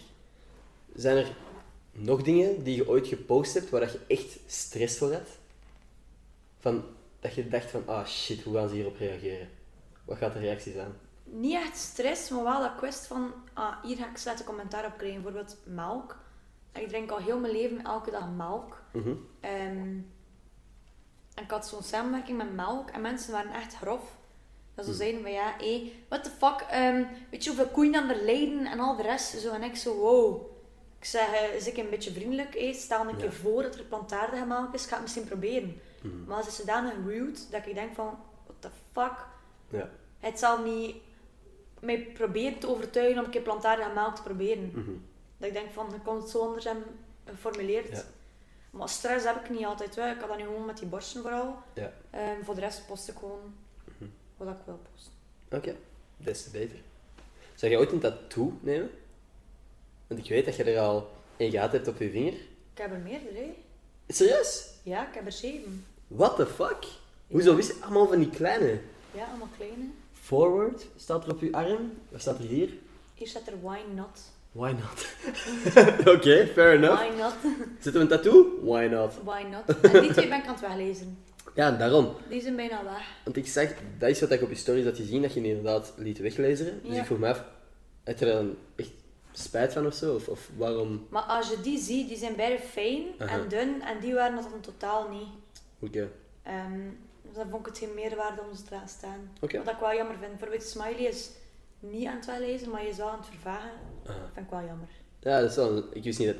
[SPEAKER 3] Zijn er nog dingen die je ooit gepost hebt waar dat je echt stress voor had? Van, dat je dacht van ah shit, hoe gaan ze hierop reageren? Wat gaat de reactie zijn?
[SPEAKER 2] niet echt stress, maar wel dat ik wist van, ah, hier ga ik slechte commentaar op krijgen. Bijvoorbeeld melk. Ik drink al heel mijn leven elke dag melk. Ehm, en ik had zo'n samenwerking met melk en mensen waren echt grof. Dat ze zeiden van ja, hé, what the fuck, ehm, weet je hoeveel koeien dan er lijden en al de rest. Zo, en ik zo, wow. Ik zeg, eh, is ik een beetje vriendelijk, hé, stel een keer voor dat er plantaardige melk is, ga het misschien proberen. Maar ze is zodanig rude dat ik denk van, what the fuck.
[SPEAKER 3] Ja.
[SPEAKER 2] Het zal niet mij proberen te overtuigen om een keer plantaardige melk te proberen.
[SPEAKER 3] Mhm.
[SPEAKER 2] Dat ik denk van, je komt het zo onder hem geformuleerd.
[SPEAKER 3] Ja.
[SPEAKER 2] Maar stress heb ik niet altijd wel. Ik had dat nu gewoon met die borsten vooral.
[SPEAKER 3] Ja.
[SPEAKER 2] Ehm, voor de rest post ik gewoon
[SPEAKER 3] Mhm.
[SPEAKER 2] wat ik wil posten.
[SPEAKER 3] Oké, des te beter. Zou jij ooit een tattoo nemen? Want ik weet dat je er al een gehad hebt op je vinger.
[SPEAKER 2] Ik heb er meerdere, hè.
[SPEAKER 3] Serieus?
[SPEAKER 2] Ja, ik heb er zeven.
[SPEAKER 3] What the fuck? Hoezo wist je allemaal van die kleine?
[SPEAKER 2] Ja, allemaal kleine.
[SPEAKER 3] Forward staat er op je arm. Wat staat er hier?
[SPEAKER 2] Hier staat er why not.
[SPEAKER 3] Why not? Oké, fair enough.
[SPEAKER 2] Why not?
[SPEAKER 3] Zit er een tattoo? Why not?
[SPEAKER 2] why not? En die twee ben ik aan het weglezen.
[SPEAKER 3] Ja, daarom.
[SPEAKER 2] Die zijn bijna weg.
[SPEAKER 3] Want ik zag, dat is wat ik op je stories had gezien, dat je die inderdaad liet weglezen. Dus
[SPEAKER 2] Ja.
[SPEAKER 3] ik vroeg me af, had je daar dan echt spijt van of zo? Of, of waarom?
[SPEAKER 2] Maar als je die ziet, die zijn beide fijn
[SPEAKER 3] Aha.
[SPEAKER 2] en dun. En die waren dat dan totaal niet.
[SPEAKER 3] Oké.
[SPEAKER 2] Ehm, dus dan vond ik het geen meerwaarde om ze te laten staan.
[SPEAKER 3] Oké.
[SPEAKER 2] Wat ik wel jammer vind. Bijvoorbeeld Smiley is niet aan het weglezen, maar je is wel aan het vervagen.
[SPEAKER 3] Ah.
[SPEAKER 2] Dat vind ik wel jammer.
[SPEAKER 3] Ja, dat is wel... Ik wist niet dat...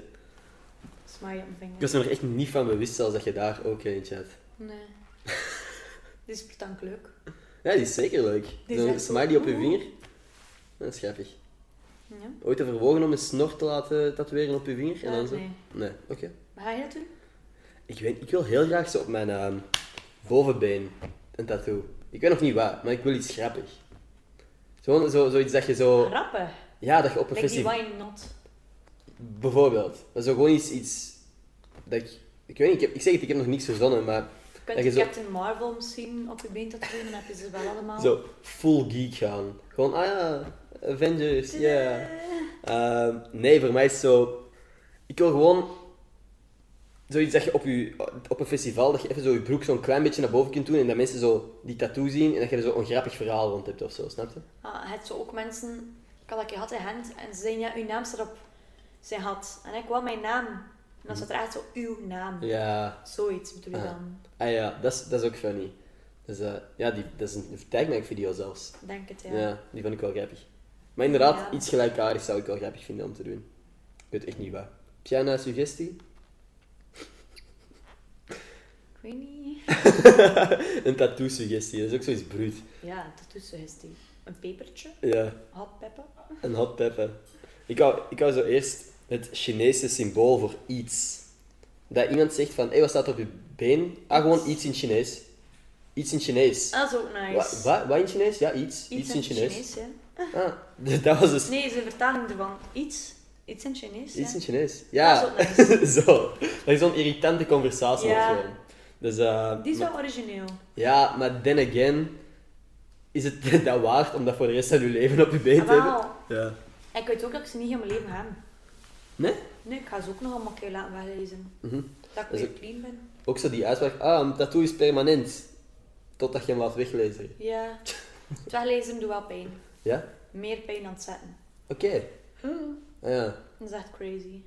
[SPEAKER 2] Smiley op mijn
[SPEAKER 3] Ik
[SPEAKER 2] vinger.
[SPEAKER 3] was me er echt niet van bewust zelfs dat je daar ook eentje had.
[SPEAKER 2] Nee. Dit is pretend leuk.
[SPEAKER 3] Ja, die is zeker leuk.
[SPEAKER 2] Die is
[SPEAKER 3] Zo'n
[SPEAKER 2] echt
[SPEAKER 3] smiley op je
[SPEAKER 2] cool.
[SPEAKER 3] vinger. Dat is grappig.
[SPEAKER 2] Ja.
[SPEAKER 3] Ooit te verwogen om een snor te laten tatoeëren op je vinger? En
[SPEAKER 2] Ja,
[SPEAKER 3] dan zo?
[SPEAKER 2] nee.
[SPEAKER 3] Nee, oké.
[SPEAKER 2] Maar ga je dat doen?
[SPEAKER 3] Ik, weet, ik wil heel graag zo op mijn ehm, bovenbeen een tattoo. Ik weet nog niet waar, maar ik wil iets grappig. Zo, zo, zoiets dat je zo...
[SPEAKER 2] Grappig.
[SPEAKER 3] Ja, dat je op een
[SPEAKER 2] Like die
[SPEAKER 3] festival...
[SPEAKER 2] wine not.
[SPEAKER 3] Bijvoorbeeld. Maar zo gewoon iets... iets dat ik, ik weet niet, ik, heb, ik zeg het, ik heb nog niks verzonnen, maar...
[SPEAKER 2] Kunt
[SPEAKER 3] dat
[SPEAKER 2] je
[SPEAKER 3] je zo,
[SPEAKER 2] Captain Marvel misschien op je been tatoeëren, dan heb je ze wel allemaal.
[SPEAKER 3] zo full geek gaan. Gewoon, ah ja, Avengers, ja. Ehm, nee, voor mij is het zo. Ik wil gewoon zoiets dat je op, je, op een festival, dat je even zo je broek zo'n klein beetje naar boven kunt doen en dat mensen zo die tattoo zien en dat je er zo een grappig verhaal rond hebt of zo, snap je?
[SPEAKER 2] Ah, het zo ook mensen, ik had dat keer gehad in Gent, en ze zeiden ja, uw naam staat op zijn had. En ik wou mijn naam. En dan staat er echt zo uw naam.
[SPEAKER 3] Mhm. Ja.
[SPEAKER 2] Zoiets bedoel je
[SPEAKER 3] Ah.
[SPEAKER 2] dan.
[SPEAKER 3] Ah ja, dat is, dat is ook funny. Dus eh, ja, die, dat is een tagmac-video zelfs.
[SPEAKER 2] Denk het, ja.
[SPEAKER 3] Ja. die vond ik wel grappig. Maar inderdaad,
[SPEAKER 2] Ja.
[SPEAKER 3] iets gelijkaardigs zou ik wel grappig vinden om te doen. Ik weet echt niet waar. Heb jij nou een suggestie?
[SPEAKER 2] Ik weet niet.
[SPEAKER 3] Een tattoo-suggestie, dat is ook zoiets bruut.
[SPEAKER 2] Ja, dat is suggestie. Een pepertje,
[SPEAKER 3] Ja.
[SPEAKER 2] hot pepper.
[SPEAKER 3] Een hot pepper. Ik hou, ik hou zo eerst het Chinese symbool voor iets. Dat iemand zegt van, hé, wat staat er op je been? Ah, gewoon iets in Chinees. Iets in Chinees.
[SPEAKER 2] Dat is ook Ah, nice.
[SPEAKER 3] Wat, wat, wat in Chinees? Ja, iets. Iets, in Chinees.
[SPEAKER 2] ja.
[SPEAKER 3] Ah, dat was dus
[SPEAKER 2] Nee, zijn vertaling ervan. Iets. Iets in Chinees,
[SPEAKER 3] iets
[SPEAKER 2] ja.
[SPEAKER 3] in Chinees. Ja,
[SPEAKER 2] Dat is ook
[SPEAKER 3] zo. Dat is zo'n irritante conversatie
[SPEAKER 2] Ja.
[SPEAKER 3] of zo. Dus, eh,
[SPEAKER 2] Die is
[SPEAKER 3] maar-
[SPEAKER 2] wel origineel.
[SPEAKER 3] ja, maar then again, is het dat waard om dat voor de rest van je leven op je been te hebben?
[SPEAKER 2] Wel,
[SPEAKER 3] Ja.
[SPEAKER 2] ik weet ook dat ik ze niet in mijn leven heb.
[SPEAKER 3] Nee?
[SPEAKER 2] Nee, ik ga ze ook nog allemaal een keer laten weglezen. Dat ik
[SPEAKER 3] Is
[SPEAKER 2] weer
[SPEAKER 3] het-
[SPEAKER 2] clean ben.
[SPEAKER 3] Mhm. Ook zo die uitspraak, ah, een tattoo is permanent. Totdat je hem laat weglezen.
[SPEAKER 2] Ja. Het weglezen doet wel pijn.
[SPEAKER 3] Ja?
[SPEAKER 2] Meer pijn dan het zetten.
[SPEAKER 3] Oké. Ah, ja.
[SPEAKER 2] Dat is echt crazy.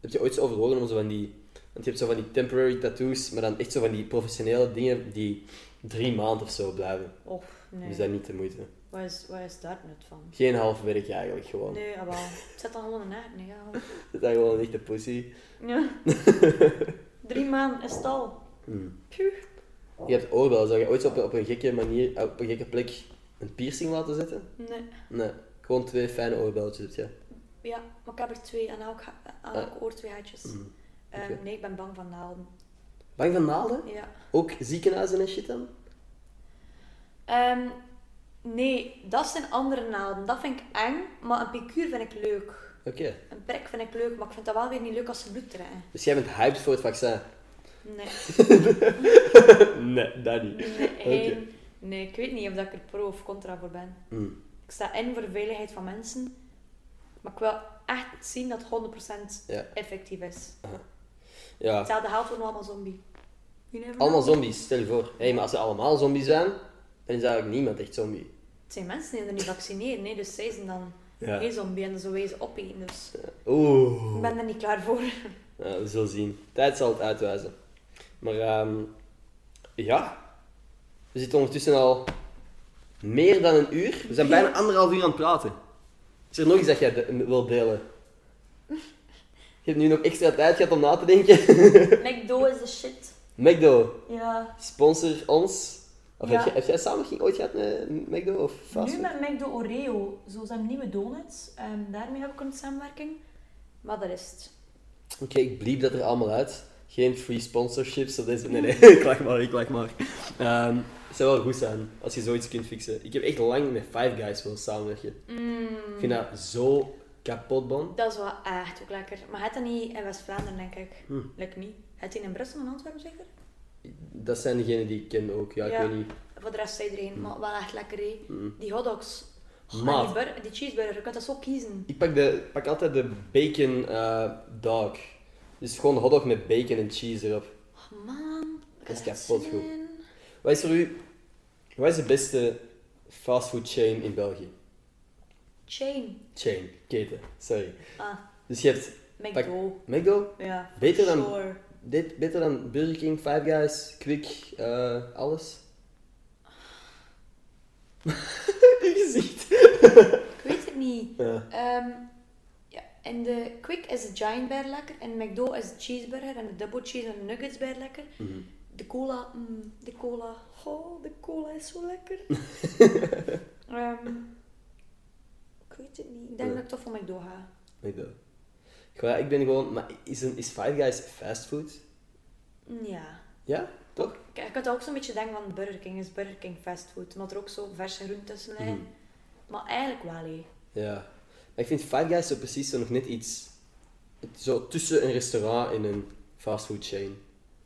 [SPEAKER 3] Heb je ooit zo overwogen om zo van die... Want je hebt zo van die temporary tattoos, maar dan echt zo van die professionele dingen die drie maanden of zo blijven.
[SPEAKER 2] Oh, nee.
[SPEAKER 3] Dus dat niet de moeite.
[SPEAKER 2] Waar, is, waar is daar nut van?
[SPEAKER 3] Geen half werk eigenlijk, gewoon.
[SPEAKER 2] Nee, ah, abal. Zet dan gewoon een naak nee, ja.
[SPEAKER 3] Dat is gewoon een echte pussy.
[SPEAKER 2] Ja. Drie maanden is het al.
[SPEAKER 3] Mm.
[SPEAKER 2] Puh.
[SPEAKER 3] Je hebt oorbel. Zou je ooit op, op een gekke manier, op een gekke plek, een piercing laten zetten?
[SPEAKER 2] Nee.
[SPEAKER 3] Nee. Gewoon twee fijne oorbelletjes heb je.
[SPEAKER 2] Ja, maar ik heb er twee aan elk, ha- aan elk oor twee haartjes. Ehm,
[SPEAKER 3] Ah. Mm. oké.
[SPEAKER 2] nee, ik ben bang van naalden.
[SPEAKER 3] Bang van naalden?
[SPEAKER 2] Ja.
[SPEAKER 3] Ook ziekenhuizen en shit dan?
[SPEAKER 2] Ehm, nee, dat zijn andere naalden. Dat vind ik eng, maar een picuur vind ik leuk.
[SPEAKER 3] Oké.
[SPEAKER 2] Een prik vind ik leuk, maar ik vind dat wel weer niet leuk als ze bloed trekken.
[SPEAKER 3] Dus jij bent hyped voor het vaccin?
[SPEAKER 2] Nee,
[SPEAKER 3] Nee, dat niet.
[SPEAKER 2] nee, geen- nee, ik weet niet of dat ik er pro of contra voor ben.
[SPEAKER 3] Mm.
[SPEAKER 2] Ik sta in voor de veiligheid van mensen, maar ik wil echt zien dat het 100%
[SPEAKER 3] Ja.
[SPEAKER 2] effectief is.
[SPEAKER 3] Ja.
[SPEAKER 2] Hetzelfde geldt voor een allemaal zombie. You never know.
[SPEAKER 3] Allemaal zombies, stel je voor. Hé, maar als ze allemaal zombies zijn, dan is eigenlijk niemand echt zombie.
[SPEAKER 2] Het zijn mensen die er niet vaccineren, nee, dus zij zijn dan
[SPEAKER 3] Ja.
[SPEAKER 2] geen zombie en zo wezen opeten. Dus
[SPEAKER 3] Oeh.
[SPEAKER 2] ik ben er niet klaar voor.
[SPEAKER 3] Ja, we zullen zien. Tijd zal het uitwijzen. Maar ehm, ja, we zitten ondertussen al meer dan een uur. We zijn bijna anderhalf uur aan het praten. Is er nog iets dat jij de- wilt delen? Je hebt nu nog extra tijd gehad om na te denken.
[SPEAKER 2] McDo is de shit.
[SPEAKER 3] McDo,
[SPEAKER 2] Ja.
[SPEAKER 3] sponsor ons. Of
[SPEAKER 5] Ja.
[SPEAKER 3] heb, jij, heb jij samenwerking ooit gehad met McDo of
[SPEAKER 5] Nu
[SPEAKER 3] fastfood?
[SPEAKER 5] met McDo Oreo, zo zijn nieuwe donuts. Ehm, daarmee heb ik een samenwerking.
[SPEAKER 2] Maar dat is het.
[SPEAKER 3] Oké, ik bliep dat er allemaal uit. Geen free sponsorships of deze. Nee, nee, ik lach maar, ik lach maar. Ehm, het zou wel goed zijn als je zoiets kunt fixen. Ik heb echt lang met Five Guys willen samenwerken. Ik vind dat zo kapot, man.
[SPEAKER 2] Dat is wel echt ook lekker. Maar het dat niet in West-Vlaanderen, denk ik.
[SPEAKER 3] Hm.
[SPEAKER 2] Lekker niet. Het in Brussel en Antwerpen zeker?
[SPEAKER 3] Dat zijn degenen die ik ken ook. Ja, ik
[SPEAKER 2] Ja.
[SPEAKER 3] weet niet. Hm.
[SPEAKER 2] Voor de rest zijn er één, maar wel echt lekker hé. Die hotdogs. Oh, en
[SPEAKER 3] Maat.
[SPEAKER 2] die, burger, die cheeseburger, je kunt dat zo kiezen.
[SPEAKER 3] Ik pak, de, pak altijd de bacon eh, dog. Dus gewoon een hotdog met bacon en cheese erop.
[SPEAKER 2] Oh, man, ik
[SPEAKER 3] Dat is
[SPEAKER 2] heb echt
[SPEAKER 3] kapot
[SPEAKER 2] zin
[SPEAKER 3] goed.
[SPEAKER 2] in.
[SPEAKER 3] Wat is voor u... Wat is de beste fastfood chain in België?
[SPEAKER 2] Chain.
[SPEAKER 3] Chain, keten, sorry.
[SPEAKER 2] Ah,
[SPEAKER 3] Dus je hebt... pak-
[SPEAKER 2] McDo.
[SPEAKER 3] McDo?
[SPEAKER 2] Ja.
[SPEAKER 3] Beter dan-
[SPEAKER 2] Sure.
[SPEAKER 3] Dit beter dan Burger King, Five Guys, Quick, eh, alles? Je gezicht.
[SPEAKER 2] Ik weet het niet.
[SPEAKER 3] Ja.
[SPEAKER 2] Ehm, ja, in de Quick is de Giant Bear lekker. En McDo is de cheeseburger en de double cheese en de nuggets bij lekker.
[SPEAKER 3] Mhm.
[SPEAKER 2] De cola, mm, de cola. Oh, de cola is zo lekker. Ehm, ik weet het niet. Ik denk dat ik toch voor McDo ga.
[SPEAKER 3] McDo. Gewoon, ik ben gewoon... Maar is, een, is Five Guys fastfood?
[SPEAKER 2] Mm, Ja.
[SPEAKER 3] Ja? Toch?
[SPEAKER 2] Ik, ik had ook zo'n beetje denken van Burger King is Burger King fastfood. Omdat er ook zo verse groenten tussen liggen.
[SPEAKER 3] Mhm.
[SPEAKER 2] Maar eigenlijk wel, hé.
[SPEAKER 3] Ja. Maar ik vind Five Guys zo precies zo nog net iets... het- Zo tussen een restaurant en een fastfood chain. Ik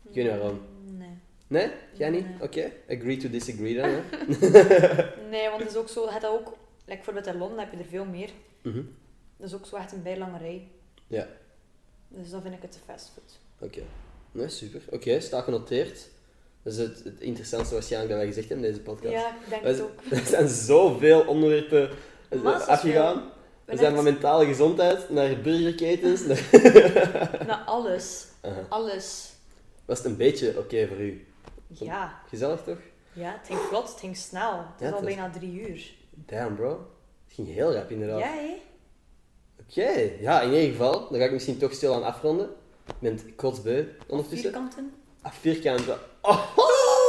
[SPEAKER 2] Hmm.
[SPEAKER 3] weet niet waarom.
[SPEAKER 2] Nee.
[SPEAKER 3] Nee? Jij niet? Oké. Agree to disagree dan, hè?
[SPEAKER 2] Nee, want het is ook zo, het dat ook, like bijvoorbeeld in Londen heb je er veel meer.
[SPEAKER 3] Mhm.
[SPEAKER 2] Dat is ook zo echt een bijlange rij.
[SPEAKER 3] Ja.
[SPEAKER 2] Dus dan vind ik het te fastfood.
[SPEAKER 3] Oké. Nee, super. Oké, staat genoteerd. Dat is het, het interessantste waarschijnlijk dat wij gezegd hebben in deze podcast.
[SPEAKER 2] Ja, ik denk
[SPEAKER 3] Wij-
[SPEAKER 2] het ook.
[SPEAKER 3] Er zijn zoveel onderwerpen eh,
[SPEAKER 2] Massa's
[SPEAKER 3] afgegaan. We
[SPEAKER 2] We
[SPEAKER 3] zijn van
[SPEAKER 2] net-
[SPEAKER 3] mentale gezondheid naar burgerketens. Naar...
[SPEAKER 2] Na alles.
[SPEAKER 3] Uh-huh.
[SPEAKER 2] Alles.
[SPEAKER 3] Was het een beetje oké voor u?
[SPEAKER 2] Ja.
[SPEAKER 3] Gezellig toch?
[SPEAKER 2] Ja, het ging vlot, het ging snel. Het is
[SPEAKER 3] Ja, het
[SPEAKER 2] al
[SPEAKER 3] is-
[SPEAKER 2] bijna drie uur.
[SPEAKER 3] Damn bro. Het ging heel rap inderdaad.
[SPEAKER 2] Ja, hé?
[SPEAKER 3] Oké, ja in ieder geval. Dan ga ik misschien toch stil aan afronden. Ik ben het kotsbeu ondertussen.
[SPEAKER 2] Vierkanten.
[SPEAKER 3] Ah, vierkant. Oh.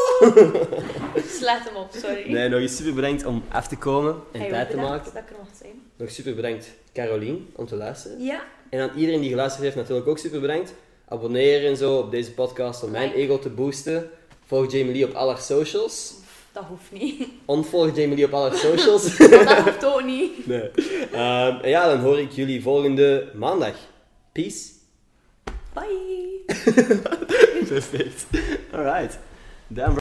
[SPEAKER 2] Slaat hem op, sorry.
[SPEAKER 3] Nee, nog eens super bedankt om af te komen en
[SPEAKER 2] Hey,
[SPEAKER 3] tijd te
[SPEAKER 2] bedankt
[SPEAKER 3] maken.
[SPEAKER 2] Dat ik er mocht zijn.
[SPEAKER 3] Nog super bedankt Carolien om te luisteren.
[SPEAKER 2] Ja.
[SPEAKER 3] En aan iedereen die geluisterd heeft natuurlijk ook super bedankt. Abonneer en zo op deze podcast om mijn ego te boosten. Volg Jamie Lee op alle haar socials.
[SPEAKER 2] Dat hoeft niet.
[SPEAKER 3] Ontvolg Jamie Lee op alle haar socials.
[SPEAKER 2] dat hoeft ook niet.
[SPEAKER 3] nee. Ehm, en ja, dan hoor ik jullie volgende maandag. Peace.
[SPEAKER 2] Bye.
[SPEAKER 3] Perfect. Alright. Damn